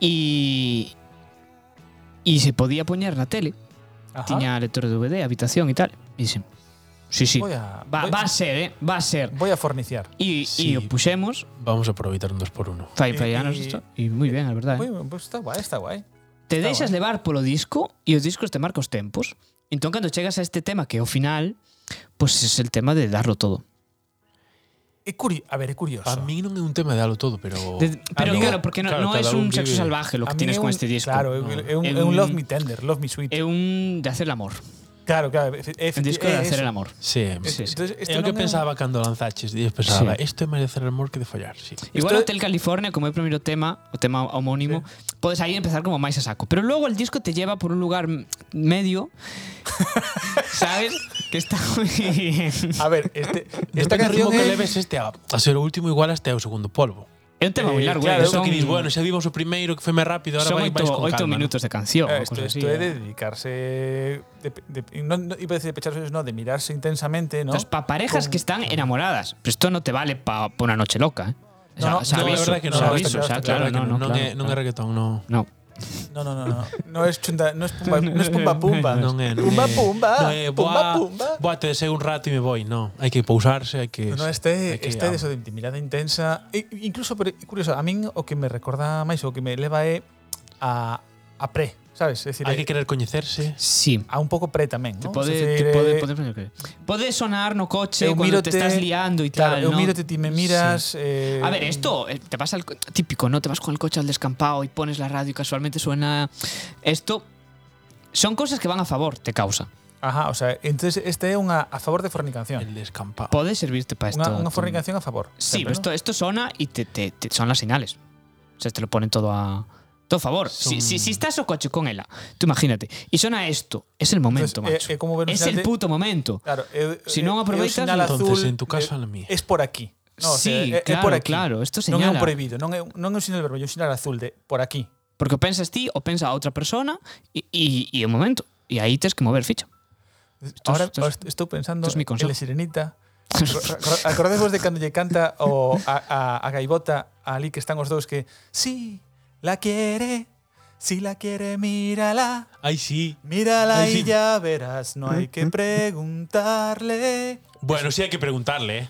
Speaker 1: e e se podía poñer na tele,
Speaker 2: Ajá.
Speaker 1: tiña lector de DVD, habitación e tal, e dixen, sí, sí,
Speaker 2: Voy a-
Speaker 1: va,
Speaker 2: voy-
Speaker 1: va a ser, eh, va a ser,
Speaker 2: Voy a forniciar.
Speaker 1: e
Speaker 3: Sí.
Speaker 1: sí. o puxemos,
Speaker 3: Vamos a aproveitar un 2x1.
Speaker 1: fai,
Speaker 2: Y-
Speaker 1: fai anos
Speaker 2: y-
Speaker 1: isto, e moi ben, a verdade.
Speaker 2: Moi, pues está guai, está guai.
Speaker 1: Te
Speaker 2: Está
Speaker 1: deixas
Speaker 2: guai.
Speaker 1: levar polo disco e os discos te marca os tempos. Entón, cando chegas a este tema que é o final, pois pues, é el tema de darlo todo.
Speaker 2: É curi, a ver, é curioso.
Speaker 3: A mí non é un tema de dalo todo, pero...
Speaker 1: De, pero
Speaker 3: A mí-
Speaker 1: claro, porque non, non
Speaker 3: Oh.
Speaker 1: é
Speaker 3: cada
Speaker 1: un
Speaker 3: vive-
Speaker 1: sexo salvaje lo
Speaker 2: A
Speaker 1: que
Speaker 2: mí
Speaker 1: tienes
Speaker 2: é
Speaker 1: con
Speaker 2: un-
Speaker 1: este disco.
Speaker 2: Claro, é
Speaker 3: No.
Speaker 2: un, é un,
Speaker 1: É
Speaker 2: é un
Speaker 1: un-
Speaker 2: Love Me Tender, Love Me Sweet.
Speaker 1: É un de hacer el amor.
Speaker 2: claro, claro. É, é,
Speaker 1: Un disco
Speaker 2: é
Speaker 1: de hacer
Speaker 2: eso.
Speaker 1: el amor.
Speaker 3: Sí,
Speaker 1: Sí,
Speaker 3: sí.
Speaker 1: sí.
Speaker 2: Entonces,
Speaker 3: É o que eu
Speaker 2: non é-
Speaker 3: pensaba cando lanzaches. Eu pensaba,
Speaker 1: Sí.
Speaker 3: isto é máis de hacer amor que de follar, sí.
Speaker 1: Igual
Speaker 2: Esto-
Speaker 1: Hotel California, como é o primeiro tema, o tema homónimo, podes aí empezar como máis a saco. Pero logo el disco te lleva por un lugar m- medio, sabes? Que está moi bien.
Speaker 2: A ver, este, esta
Speaker 3: Esta Depende canción
Speaker 2: canción Eh,
Speaker 3: que
Speaker 2: é...
Speaker 3: leves este a, a ser o último igual hasta o segundo polvo.
Speaker 1: É un tema
Speaker 2: Eh,
Speaker 1: moi largo,
Speaker 2: claro,
Speaker 1: eh,
Speaker 3: Eso
Speaker 1: son,
Speaker 3: que dis, bueno, xa vimos o primeiro que foi máis rápido, ahora
Speaker 1: son
Speaker 3: vai máis
Speaker 1: oito,
Speaker 3: con
Speaker 1: oito
Speaker 3: calma.
Speaker 1: minutos de canción.
Speaker 2: Eh,
Speaker 1: ou
Speaker 2: Esto,
Speaker 1: cosas así,
Speaker 2: esto é
Speaker 1: eh.
Speaker 2: de dedicarse de, de, no, no, iba a decir de pechar los ojos, no, de mirarse intensamente, ¿no?
Speaker 1: Entonces, para parejas que están enamoradas, pero esto no te vale para una noche loca. ¿eh? O sea,
Speaker 2: No, no,
Speaker 1: o sea,
Speaker 2: no, la
Speaker 1: aviso,
Speaker 2: verdad que no,
Speaker 1: o sea,
Speaker 2: no,
Speaker 1: aviso,
Speaker 2: está
Speaker 1: o sea,
Speaker 2: claro,
Speaker 1: claro,
Speaker 3: que
Speaker 1: no, no,
Speaker 3: non, é,
Speaker 1: claro,
Speaker 3: non é reggaetón, non.
Speaker 1: no.
Speaker 2: No, no, no, no. No es chunda, no es pumba, no es pumba pumba.
Speaker 3: Non é, non
Speaker 2: pumba
Speaker 3: é,
Speaker 2: pumba.
Speaker 3: non é,
Speaker 2: pumba
Speaker 3: eh, buah,
Speaker 2: pumba.
Speaker 3: Buah, te deseo un rato e me voy, non. Hai que pausarse, hai que...
Speaker 2: No, no,
Speaker 3: hai
Speaker 2: este,
Speaker 3: que-
Speaker 2: este de eso de mirada intensa. E, incluso, pero é curioso, a min o que me recorda máis o que me leva é a, a pre, sabes? É dicir,
Speaker 3: Hai que querer coñecerse.
Speaker 1: Sí.
Speaker 2: a un pouco pre tamén,
Speaker 1: Te
Speaker 2: non?
Speaker 1: pode,
Speaker 2: É
Speaker 1: te
Speaker 2: dicir,
Speaker 1: pode,
Speaker 2: eh,
Speaker 1: pode, pode, pode sonar no coche
Speaker 2: eu
Speaker 1: cuando te
Speaker 2: mírote-
Speaker 1: estás liando y
Speaker 2: claro,
Speaker 1: tal.
Speaker 2: eu
Speaker 1: ¿no?
Speaker 2: mírote, ti me miras... Eh,
Speaker 1: A ver, esto eh, te pasa el co- típico, ¿no? Te vas con el coche al descampado y pones la radio y casualmente suena esto. Son cosas que van a favor, te causa.
Speaker 2: Ajá, o sea, entonces este é unha a favor de
Speaker 3: El
Speaker 2: fornicación.
Speaker 3: descampado.
Speaker 1: Pode servirte para esto.
Speaker 2: Unha, unha
Speaker 1: tú-
Speaker 2: fornicación a favor.
Speaker 1: Sí, pero
Speaker 2: sempre, non?
Speaker 1: esto, esto sona y te, te- te- son las señales. O sea, te lo ponen todo a todo a favor. Si,
Speaker 3: Son-
Speaker 1: si, si estás o coche con ela, tú imagínate, y sona esto, es el momento,
Speaker 2: Entonces,
Speaker 1: macho.
Speaker 2: eh, eh, como ver un
Speaker 1: es
Speaker 2: señal
Speaker 1: el
Speaker 2: de-
Speaker 1: puto momento.
Speaker 2: Claro, eu, eh,
Speaker 1: Si non
Speaker 2: eu- eu
Speaker 1: aproveitas,
Speaker 2: sinal
Speaker 3: Entonces,
Speaker 2: azul,
Speaker 3: en tu
Speaker 2: eh,
Speaker 3: casa, la mía.
Speaker 2: Es por aquí. No, o
Speaker 1: Sí,
Speaker 2: sea, é- é
Speaker 1: claro,
Speaker 2: por aquí.
Speaker 1: claro, esto
Speaker 2: Non é
Speaker 1: señala.
Speaker 2: un prohibido, non é, un- non é un sinal vermelho, é un sinal azul de por aquí.
Speaker 1: Porque o pensas ti o pensa a otra persona y, y, y el momento. Y ahí tienes que mover ficha.
Speaker 2: Ahora
Speaker 1: esto es-
Speaker 2: est- estou pensando
Speaker 1: esto es mi
Speaker 2: en
Speaker 1: consejo.
Speaker 2: la sirenita. Acordemos de cando lle canta o a, a, a gaivota ali que están os dous que si la quiere, si la quiere, mírala.
Speaker 3: Ai, sí.
Speaker 2: Mírala
Speaker 3: Ay, sí.
Speaker 2: y ya verás, no
Speaker 1: Mm,
Speaker 2: hay que preguntarle.
Speaker 3: Bueno, sí hai que preguntarle, eh.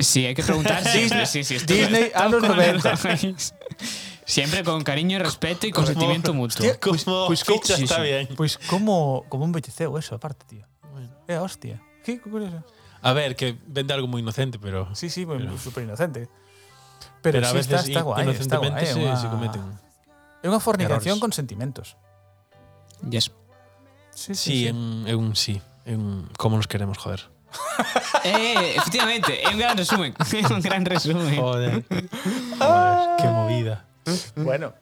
Speaker 1: Sí, hay que preguntar. sí, sí, sí, sí, esto-
Speaker 2: Disney
Speaker 1: esto
Speaker 2: a los
Speaker 1: con
Speaker 2: 90.
Speaker 1: el- Siempre con cariño y respeto y consentimiento mutuo.
Speaker 2: Hostia,
Speaker 3: Como
Speaker 1: pues,
Speaker 3: ficha
Speaker 1: sí,
Speaker 3: está
Speaker 1: sí.
Speaker 3: bien.
Speaker 2: Pois como como envelleceu eso, aparte, tío. É a hostia. Que curioso.
Speaker 3: A ver, que vende algo moi inocente, pero...
Speaker 2: Sí, sí,
Speaker 3: Pero-
Speaker 2: súper inocente. Pero, sí,
Speaker 3: pero a veces
Speaker 2: está, está guai, está
Speaker 3: inocentemente
Speaker 2: guai. é unha-
Speaker 3: se, se cometen.
Speaker 2: É unha fornicación con
Speaker 3: errores.
Speaker 2: sentimentos.
Speaker 1: Yes.
Speaker 2: Sí,
Speaker 3: Sí, é un, é un sí. É un como nos queremos, joder.
Speaker 1: Eh, efectivamente, es un gran resumen. Es un gran resumen.
Speaker 3: Joder. Joder, qué movida.
Speaker 2: Bueno.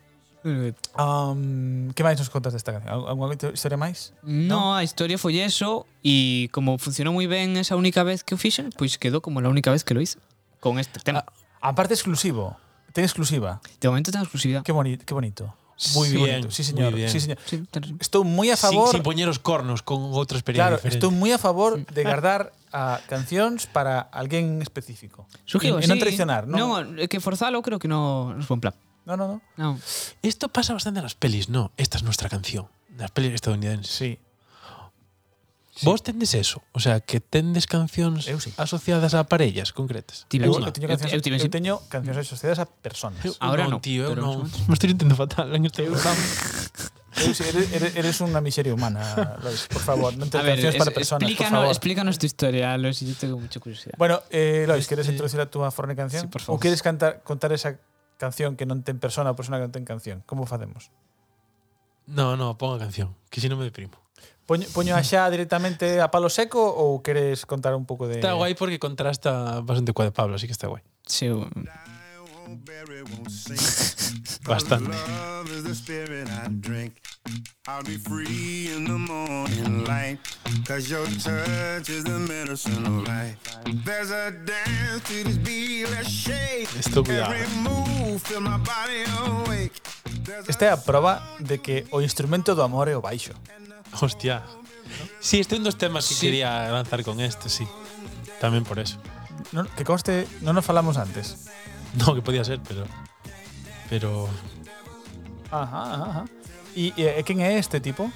Speaker 2: Um, que máis nos contas desta canción? Algu- Algunha hito- historia máis?
Speaker 1: No, a historia foi eso e como funcionou moi ben esa única vez que o fixen, pois quedou como a única vez que lo hice con este
Speaker 2: Ah.
Speaker 1: tema.
Speaker 2: Aparte exclusivo. Ten exclusiva.
Speaker 1: De momento ten exclusividade.
Speaker 2: Que, boni que bonito. Muy
Speaker 3: Sí,
Speaker 2: bonito. Sí, señor.
Speaker 3: muy bien.
Speaker 2: Sí, señor.
Speaker 1: Sí, ten-
Speaker 2: Estou moi a
Speaker 3: Sin,
Speaker 2: favor...
Speaker 3: sin poñer os cornos con outra experiencia
Speaker 2: claro,
Speaker 3: diferente.
Speaker 2: estou moi a favor de guardar a cancións para alguén específico.
Speaker 1: Surgiu
Speaker 2: E-
Speaker 1: así.
Speaker 2: E non traicionar, non?
Speaker 1: Non, é que forzalo creo que non non foi en plan.
Speaker 2: No, no, no.
Speaker 1: Non.
Speaker 3: Esto pasa bastante en las pelis, no. Esta es nuestra canción. En las pelis estadounidenses.
Speaker 2: Sí.
Speaker 3: Vos tendes eso. O sea, que tendes cancións
Speaker 2: Eu sí.
Speaker 3: asociadas a parellas concretas.
Speaker 1: Ti,
Speaker 2: Eu,
Speaker 1: Lanchina.
Speaker 2: eu teño
Speaker 1: Eu-
Speaker 2: cancións, eu,
Speaker 1: eu tive-
Speaker 2: teño cancións asociadas a personas.
Speaker 3: Eu
Speaker 1: Ahora
Speaker 3: non,
Speaker 1: no,
Speaker 3: tío, eu
Speaker 1: pero
Speaker 3: non.
Speaker 1: en su
Speaker 3: Me estoy sintiendo fatal en este programa.
Speaker 2: Eu, si eres, eres, eres unha miseria humana, Lois, por favor. Non te
Speaker 1: A ver,
Speaker 2: cancións
Speaker 1: es-
Speaker 2: para personas, por
Speaker 1: explícanos,
Speaker 2: favor.
Speaker 1: explícanos tu historia, Luis, yo tengo mucha curiosidad.
Speaker 2: Bueno, eh, Lois, queres introducir a túa forne canción?
Speaker 1: Sí, por favor.
Speaker 2: Ou queres cantar, contar esa canción que non ten persona ou persona que non ten canción? Como facemos?
Speaker 3: No, no, ponga canción, que si no me deprimo.
Speaker 2: Poño, poño a xa directamente a palo seco ou queres contar un pouco de
Speaker 3: Está guay porque contrasta bastante coa de Pablo, así que está guay.
Speaker 1: Sí, un-
Speaker 3: Bastante.
Speaker 5: Love is the spirit I drink. I'll be free in the morning light. Cause your touch is the medicine of life. There's a dance to this beat, let's shake.
Speaker 3: Esto cuidado.
Speaker 5: Every move, feel my body awake. There's
Speaker 2: Esta é a proba de que o instrumento do amor é o baixo.
Speaker 3: Hostia. Sí, este é un dos temas que
Speaker 1: Sí.
Speaker 3: quería lanzar con este, sí. Tamén por eso.
Speaker 2: Non, que conste, non nos falamos antes.
Speaker 3: No, que podía ser, pero... Pero...
Speaker 2: Ajá, ajá, ajá. E, e, e quen é este tipo?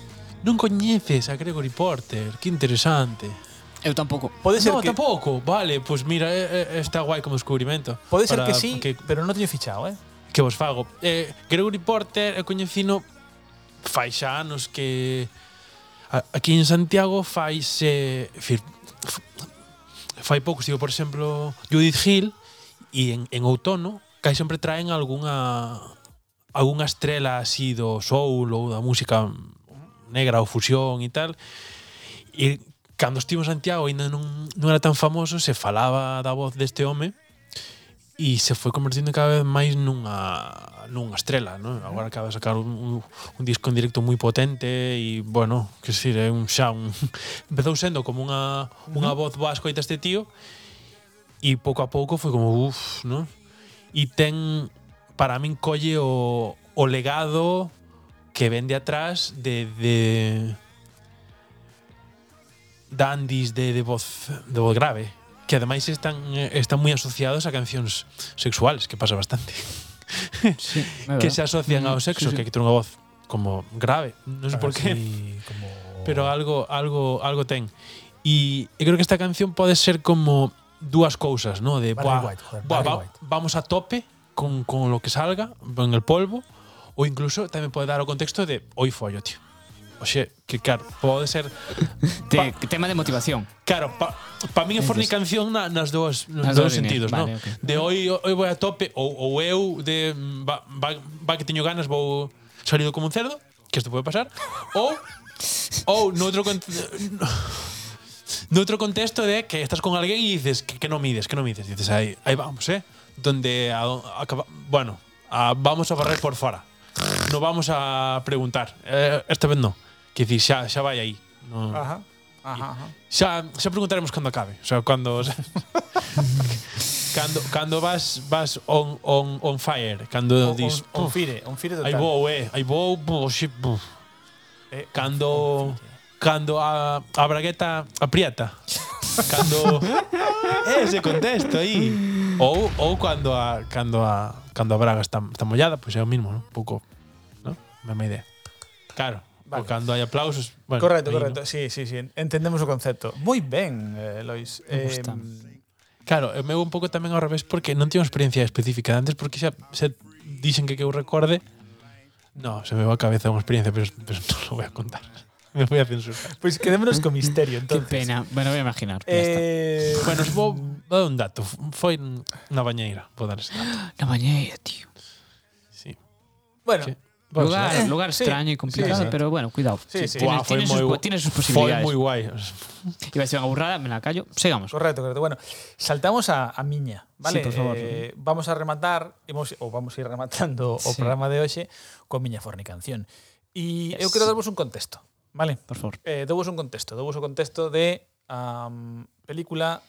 Speaker 3: Non coñeces a Gregory Porter, que interesante.
Speaker 1: eu tampouco.
Speaker 2: Pode ser
Speaker 3: no,
Speaker 2: que
Speaker 3: tampouco. Vale, pois pues mira, eh, eh, está guai como descubrimento.
Speaker 2: pode ser
Speaker 3: Para
Speaker 2: que sí,
Speaker 3: Que,
Speaker 2: pero non teño fichado, eh?
Speaker 3: que vos fago. Eh, Gregory Porter é coñecino fai xa anos que a- aquí en Santiago faise fir, fai pouco, sigo, por exemplo, Judith Hill e en, en outono cai sempre traen algunha algunha estrela así do soul ou da música negra ou fusión e tal e cando estivo en Santiago ainda non, non era tan famoso se falaba da voz deste home e se foi convertindo cada vez máis nunha nunha estrela, non? Agora acaba de sacar un, un, un disco en directo moi potente e, bueno, que se é un xa un... Empezou sendo como unha, unha voz vascoita este tío e pouco a pouco foi como, uff, non? E ten, para min, colle o, o legado que vende atrás de, de dandis de, de voz de voz grave que ademais están eh, están moi asociados a cancións sexuales, que pasa bastante,
Speaker 1: Sí,
Speaker 3: que se asocian
Speaker 2: Mm,
Speaker 3: ao sexo, que hai que ter unha voz como grave, non sei por qué,
Speaker 2: Así Ah, Como...
Speaker 3: pero algo algo algo ten. E eu creo que esta canción pode ser como dúas cousas, ¿no? De
Speaker 2: Barry
Speaker 3: buah,
Speaker 2: White, joder,
Speaker 3: buah,
Speaker 2: Barry
Speaker 3: va-
Speaker 2: White.
Speaker 3: vamos a tope con, con lo que salga en el polvo ou incluso tamén pode dar o contexto de hoy follo, tío. Oxe, que claro, pode ser
Speaker 1: Te, tema de motivación.
Speaker 3: Claro, para pa min é fornicación na, nas dúas
Speaker 1: Nas
Speaker 3: nas dúas
Speaker 1: dúas líneas,
Speaker 3: sentidos,
Speaker 1: vale,
Speaker 3: non?
Speaker 1: ok.
Speaker 3: De hoy, hoy voy a tope ou, ou eu de mm, va, va, va que teño ganas vou salido como un cerdo, que isto pode pasar, ou ou noutro con- noutro contexto de que estás con alguén e dices que, que non mides, que non mides, dices aí, aí vamos, eh, donde a, acaba, bueno, a, vamos a barrer por fora. No vamos a preguntar. Eh, esta vez non. Que dicir, xa, xa vai aí. Non,
Speaker 2: Ajá. Ajá, ajá.
Speaker 3: Xa, xa preguntaremos cando acabe. O sea, cando cando cando vas vas on on on fire, cando
Speaker 2: Un,
Speaker 3: dis
Speaker 2: un, un fire, un fire
Speaker 3: aí
Speaker 2: total.
Speaker 3: vou, eh, aí vou, bo, xe, bo.
Speaker 2: Eh,
Speaker 3: Cando cando a a bragueta ah, aprieta. Cando ese contexto aí. Ou ou cando a cando a cando a ah, braga está está mollada, pois é o mismo, ¿no? Un pouco, ¿no? Mesma idea. Claro.
Speaker 2: Vale.
Speaker 3: Vale. O cando hai aplausos, bueno,
Speaker 2: correcto,
Speaker 3: aí non.
Speaker 2: correcto. Sí, sí, sí. Entendemos o concepto. Moi ben, eh, Lois.
Speaker 1: Me gusta.
Speaker 3: Claro, eu meu un pouco tamén ao revés porque non teño experiencia específica de antes porque xa, xa dixen que que eu recorde No, se me va a cabeza unha experiencia, pero, pero non lo voy a contar. Me voy a censurar.
Speaker 2: Pois pues quedémonos co misterio,
Speaker 1: Qué
Speaker 2: entonces.
Speaker 1: pena. Bueno, voy a imaginar. ya está.
Speaker 2: Eh,
Speaker 3: Bueno, os vou dar un dato. Foi na bañeira, vou dar ese dato.
Speaker 1: La bañera, tío.
Speaker 3: Sí.
Speaker 2: bueno,
Speaker 3: sí. Vamos,
Speaker 1: Lugar,
Speaker 3: eh.
Speaker 1: lugar
Speaker 2: pues sí,
Speaker 1: extraño y complicado,
Speaker 3: sí, sí.
Speaker 1: pero bueno, cuidado.
Speaker 2: Sí,
Speaker 1: Tienes,
Speaker 2: sí.
Speaker 3: Buah, foi
Speaker 1: tiene
Speaker 3: moi
Speaker 1: sus,
Speaker 3: gu-
Speaker 1: pu- tiene sus
Speaker 3: Foi
Speaker 1: posibilidades.
Speaker 3: moi guai.
Speaker 1: Iba a ser una burrada, me la callo. Sigamos.
Speaker 2: Correcto, correcto. Bueno, saltamos a, a miña, vale?
Speaker 1: Sí, por favor.
Speaker 2: Eh, vamos a rematar, imos, ou vamos a ir rematando o
Speaker 1: Sí.
Speaker 2: programa de hoxe con miña fornicanción. E yes. eu
Speaker 1: Yes.
Speaker 2: quero darvos un contexto, vale?
Speaker 1: Por favor.
Speaker 2: Eh, dovos un contexto, dovos o contexto de um, película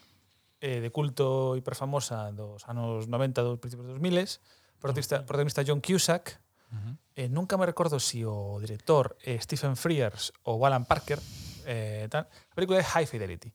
Speaker 2: eh, de culto hiperfamosa dos anos 90 dos principios dos 2000 protagonista, protagonista John Cusack eh, nunca me recordo si o director eh, Stephen Frears ou Alan Parker eh, tal, a película é High Fidelity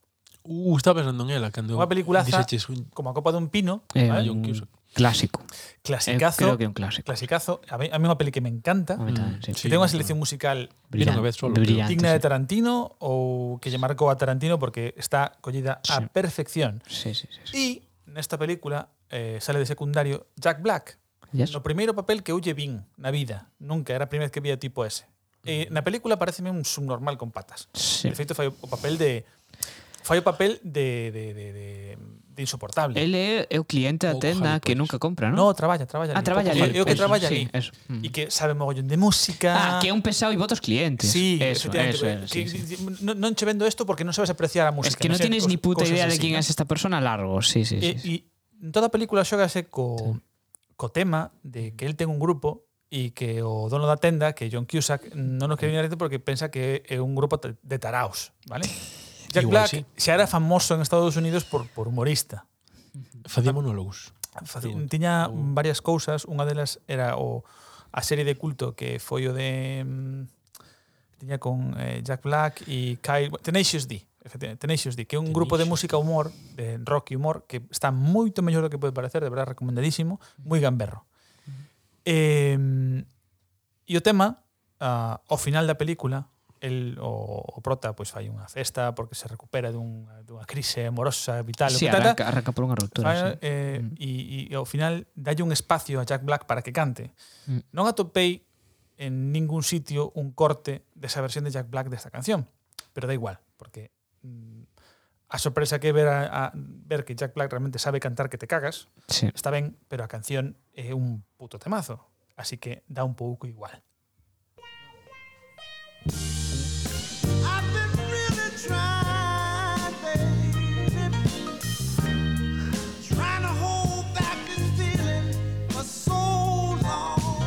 Speaker 3: Uh, estaba pensando en ela cando
Speaker 2: Unha peliculaza.
Speaker 3: dixeches un-
Speaker 2: como a copa dun pino
Speaker 1: Eh,
Speaker 3: Ah,
Speaker 1: un
Speaker 3: John Cusack.
Speaker 1: clásico. Eh,
Speaker 2: clasicazo
Speaker 1: creo que un clásico.
Speaker 2: clasicazo a mí, a mí é unha peli que me encanta
Speaker 1: A mí también, sí.
Speaker 2: que
Speaker 3: Sí.
Speaker 2: ten unha selección musical
Speaker 3: Vino
Speaker 1: Brillan-
Speaker 3: unha vez solo, creo.
Speaker 1: brillante.
Speaker 2: digna de Tarantino ou que lle marcou a Tarantino porque está collida a
Speaker 1: Sí.
Speaker 2: perfección
Speaker 1: sí, sí, sí. sí.
Speaker 2: E nesta película eh, sale de secundario Jack Black,
Speaker 1: Yes.
Speaker 2: no primeiro papel que eu lle vin na vida. Nunca era a primeira vez que vía tipo ese. E na película pareceme un subnormal con patas.
Speaker 1: Mm. Sí.
Speaker 2: De feito, fai o papel de fai o papel de, de, de, de, de insoportable.
Speaker 1: El é é o cliente da
Speaker 3: Pouco
Speaker 1: tenda que
Speaker 3: jalipois.
Speaker 1: nunca compra, non?
Speaker 2: Oh, pues. No, traballa, traballa.
Speaker 1: Ah,
Speaker 2: ali.
Speaker 1: traballa
Speaker 2: Eu-
Speaker 1: ali,
Speaker 2: Eu que
Speaker 1: eso,
Speaker 2: traballa
Speaker 1: sí,
Speaker 2: ali.
Speaker 1: eso. Mm.
Speaker 2: E que sabe mogollón de música.
Speaker 1: Ah, que é un pesado e votos clientes.
Speaker 2: Sí,
Speaker 1: eso,
Speaker 2: efectivamente,
Speaker 1: eso, eso, sí,
Speaker 2: que-
Speaker 1: sí.
Speaker 2: que- no, non che vendo esto porque non sabes apreciar a música.
Speaker 1: Es que no
Speaker 2: sei,
Speaker 1: tienes
Speaker 2: cos-
Speaker 1: ni puta
Speaker 2: cosas
Speaker 1: idea de
Speaker 2: así,
Speaker 1: quién
Speaker 2: ¿no?
Speaker 1: es esta persona largo. Sí, sí, sí.
Speaker 2: E,
Speaker 1: sí.
Speaker 2: e en Eh, toda a película xógase co, co tema de que el ten un grupo e que o dono da tenda, que John Cusack, non nos quere directo porque pensa que é un grupo ta- de taraos, vale? Jack Black
Speaker 3: Igual sí.
Speaker 2: xa era famoso en Estados Unidos por, por humorista.
Speaker 3: Facía monólogos.
Speaker 2: Faci- Tiña varias cousas, unha delas era o a serie de culto que foi o de mm, tiña con eh, Jack Black e Kyle Tenacious D, efectivamente, Tenacious D, que é un grupo de música humor, de rock e humor que está moito mellor do que pode parecer, de verdade recomendadísimo, moi gamberro. Eh, e o tema ah, ao final da película el, o, o prota pois fai unha festa porque se recupera dunha, dunha crise amorosa vital o
Speaker 1: sí,
Speaker 2: que tal, tal,
Speaker 1: arranca, arranca por unha ruptura.
Speaker 2: Fire,
Speaker 1: sí. Mm.
Speaker 2: eh, e, e ao final dalle un espacio a Jack Black para que cante.
Speaker 1: Mm.
Speaker 2: Non atopei en ningún sitio un corte desa versión de Jack Black desta canción, pero da igual, porque mm, a sorpresa que é ver a, a ver que Jack Black realmente sabe cantar que te cagas,
Speaker 1: Sí.
Speaker 2: está ben, pero a canción é un puto temazo, así que dá un pouco igual.
Speaker 4: I've been really trying, baby. Trying to hold back this feeling for so long.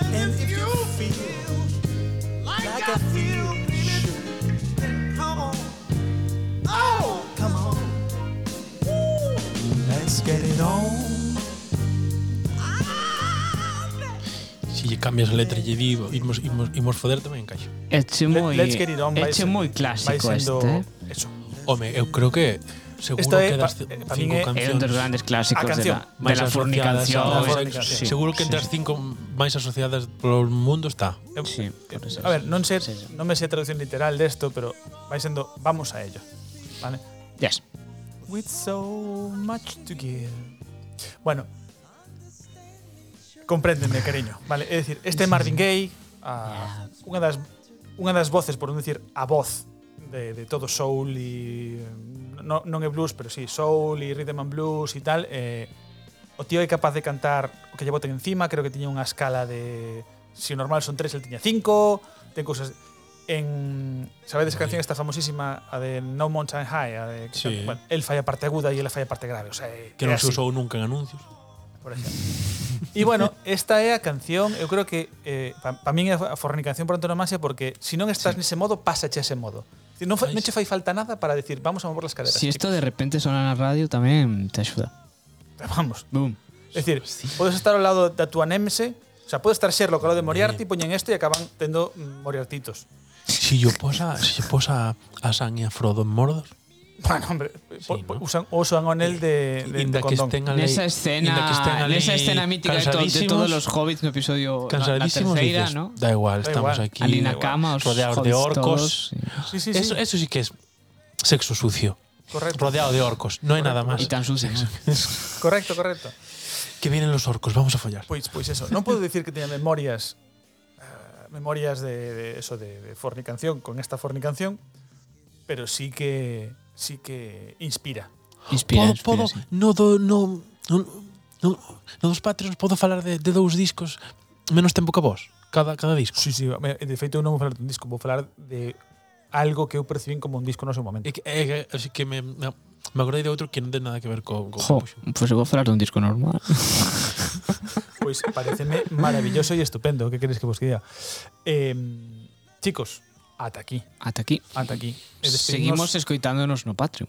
Speaker 4: And, if, you, feel, like, I, feel, baby, then come on. Oh, come on. Ooh,
Speaker 2: Let's get it on.
Speaker 4: I'm ready.
Speaker 3: Si lle cambias a letra e lle di imos, imos, imos foder tamén encaixo.
Speaker 1: Eche moi,
Speaker 2: Let's get it on. vai
Speaker 1: eche
Speaker 2: sen-
Speaker 1: moi
Speaker 2: vai
Speaker 1: clásico
Speaker 2: sendo
Speaker 1: este. eh.
Speaker 2: Eso.
Speaker 3: Home, eu creo que seguro
Speaker 2: Esta é
Speaker 3: que
Speaker 2: pa-
Speaker 3: das ci-
Speaker 2: eh, pa min
Speaker 3: cinco
Speaker 2: é- é
Speaker 1: É un dos
Speaker 3: cancións
Speaker 1: grandes clásicos
Speaker 2: A
Speaker 1: de
Speaker 2: canción
Speaker 1: la, de
Speaker 3: máis
Speaker 1: la
Speaker 3: asociadas
Speaker 1: fornicación.
Speaker 3: ao
Speaker 2: da
Speaker 1: eh,
Speaker 2: fornicación.
Speaker 1: sí,
Speaker 3: Seguro que
Speaker 1: sí,
Speaker 3: entre as cinco máis asociadas polo mundo está.
Speaker 2: Eu-
Speaker 1: Sí, por eso,
Speaker 2: A ver, non sei,
Speaker 1: sí, sí.
Speaker 2: non me sei a traducción literal desto, pero vai sendo vamos a ello. Vale.
Speaker 1: Yes.
Speaker 2: With so much to give. Bueno. Compréndeme, cariño. Vale, é dicir, este é Marvin Gaye, ah, a, unha das unha das voces, por non dicir a voz de, de todo soul e no, non é blues, pero sí, soul e rhythm and blues e tal, eh, o tío é capaz de cantar o que lle boten encima, creo que tiña unha escala de se o normal son tres, el tiña cinco, ten cousas en sabedes esa canción esta famosísima a de No Mountain High, a de que
Speaker 3: Sí.
Speaker 2: can- bueno, el falla parte aguda e ela falla parte grave, o sea, é-
Speaker 3: Que
Speaker 2: é
Speaker 3: non se
Speaker 2: así,
Speaker 3: usou nunca en anuncios.
Speaker 2: por exemplo. E bueno, esta é a canción, eu creo que eh, para pa min é a fornicación por antonomasia porque se non estás sí. nese modo, pásache ese modo. Si non, fa, non che fai falta nada para decir, vamos a mover las caderas.
Speaker 1: Si esto
Speaker 2: chicos".
Speaker 1: de repente sona na radio tamén te axuda.
Speaker 2: Vamos.
Speaker 1: Boom.
Speaker 2: Es decir, podes estar ao lado da tua nemese, o sea, podes estar Sherlock ao lado de Moriarty, poñen esto e acaban tendo mm, Moriartitos.
Speaker 3: Si yo posa, si yo posa a San e a Frodo en Mordos,
Speaker 2: Bueno, hombre, po, po,
Speaker 3: ¿no?
Speaker 2: usan, usan o anel de, de, de
Speaker 3: inda que
Speaker 2: condón.
Speaker 3: estén ali,
Speaker 1: Nesa
Speaker 3: inda que estén
Speaker 1: escena,
Speaker 3: ali
Speaker 1: nesa escena mítica de, to- de
Speaker 3: cansadísimos-
Speaker 1: todos los hobbits no episodio la, la
Speaker 3: cansadísimos
Speaker 1: terceira,
Speaker 3: dices,
Speaker 1: ¿no?
Speaker 3: Da igual,
Speaker 2: Da
Speaker 3: estamos
Speaker 2: igual.
Speaker 3: aquí
Speaker 1: Ali na
Speaker 2: igual,
Speaker 1: cama, os
Speaker 3: rodeados de
Speaker 1: hobbits
Speaker 3: orcos.
Speaker 1: todos, sí.
Speaker 2: Sí, sí, sí.
Speaker 3: Eso, eso sí que es sexo sucio.
Speaker 2: correcto,
Speaker 3: Rodeado de orcos, no hay nada más.
Speaker 1: Y tan sucios.
Speaker 2: correcto, correcto.
Speaker 3: Que vienen los orcos, vamos a follar.
Speaker 2: Pois, pois eso, non podo dicir que teña memorias eh, memorias de, de eso de, de fornicación con esta fornicación, pero sí que sí que inspira.
Speaker 1: Inspira, inspira,
Speaker 3: Podo, podo,
Speaker 1: sí.
Speaker 3: no do, no, no, no, no dos Patreons podo falar de, de dous discos menos tempo que vos, cada, cada disco.
Speaker 2: Sí, sí, me- de feito eu non vou falar dun disco, vou falar de algo que eu percibín como un disco no seu momento.
Speaker 3: É que, é, que- así que me, me, me acordei de outro que non ten nada que ver co, co
Speaker 1: Jo, pues eu vou falar dun disco normal.
Speaker 2: Pois pareceme maravilloso e estupendo, que queres que vos diga? Eh, chicos, ata aquí,
Speaker 1: Ata aquí.
Speaker 2: ata aquí. E despedimos-
Speaker 1: Seguimos escoitándonos no Patreon.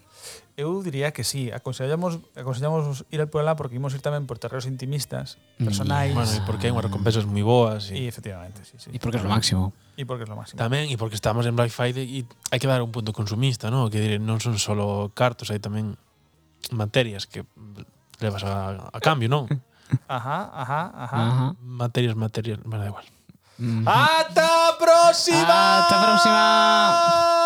Speaker 2: Eu diría que sí, aconsellamos aconsellamos ir al Puebla porque imos ir tamén por terreos intimistas, personais,
Speaker 3: Bueno, e porque hai unhas recompensas moi boas
Speaker 2: Mm. Y
Speaker 3: e
Speaker 2: efectivamente, sí, sí.
Speaker 1: E porque é o máximo.
Speaker 2: Y porque es lo máximo.
Speaker 3: tamén e porque estamos en Black Friday e hai que dar un punto consumista, ¿no? Que dire, non son solo cartos, hai tamén materias que levas a, a cambio, non?
Speaker 2: Mm. Ajá, ajá, ajá.
Speaker 1: Ajá.
Speaker 3: materias, materias, bueno, da igual.
Speaker 2: ¡Hasta próxima!
Speaker 1: Hasta próxima.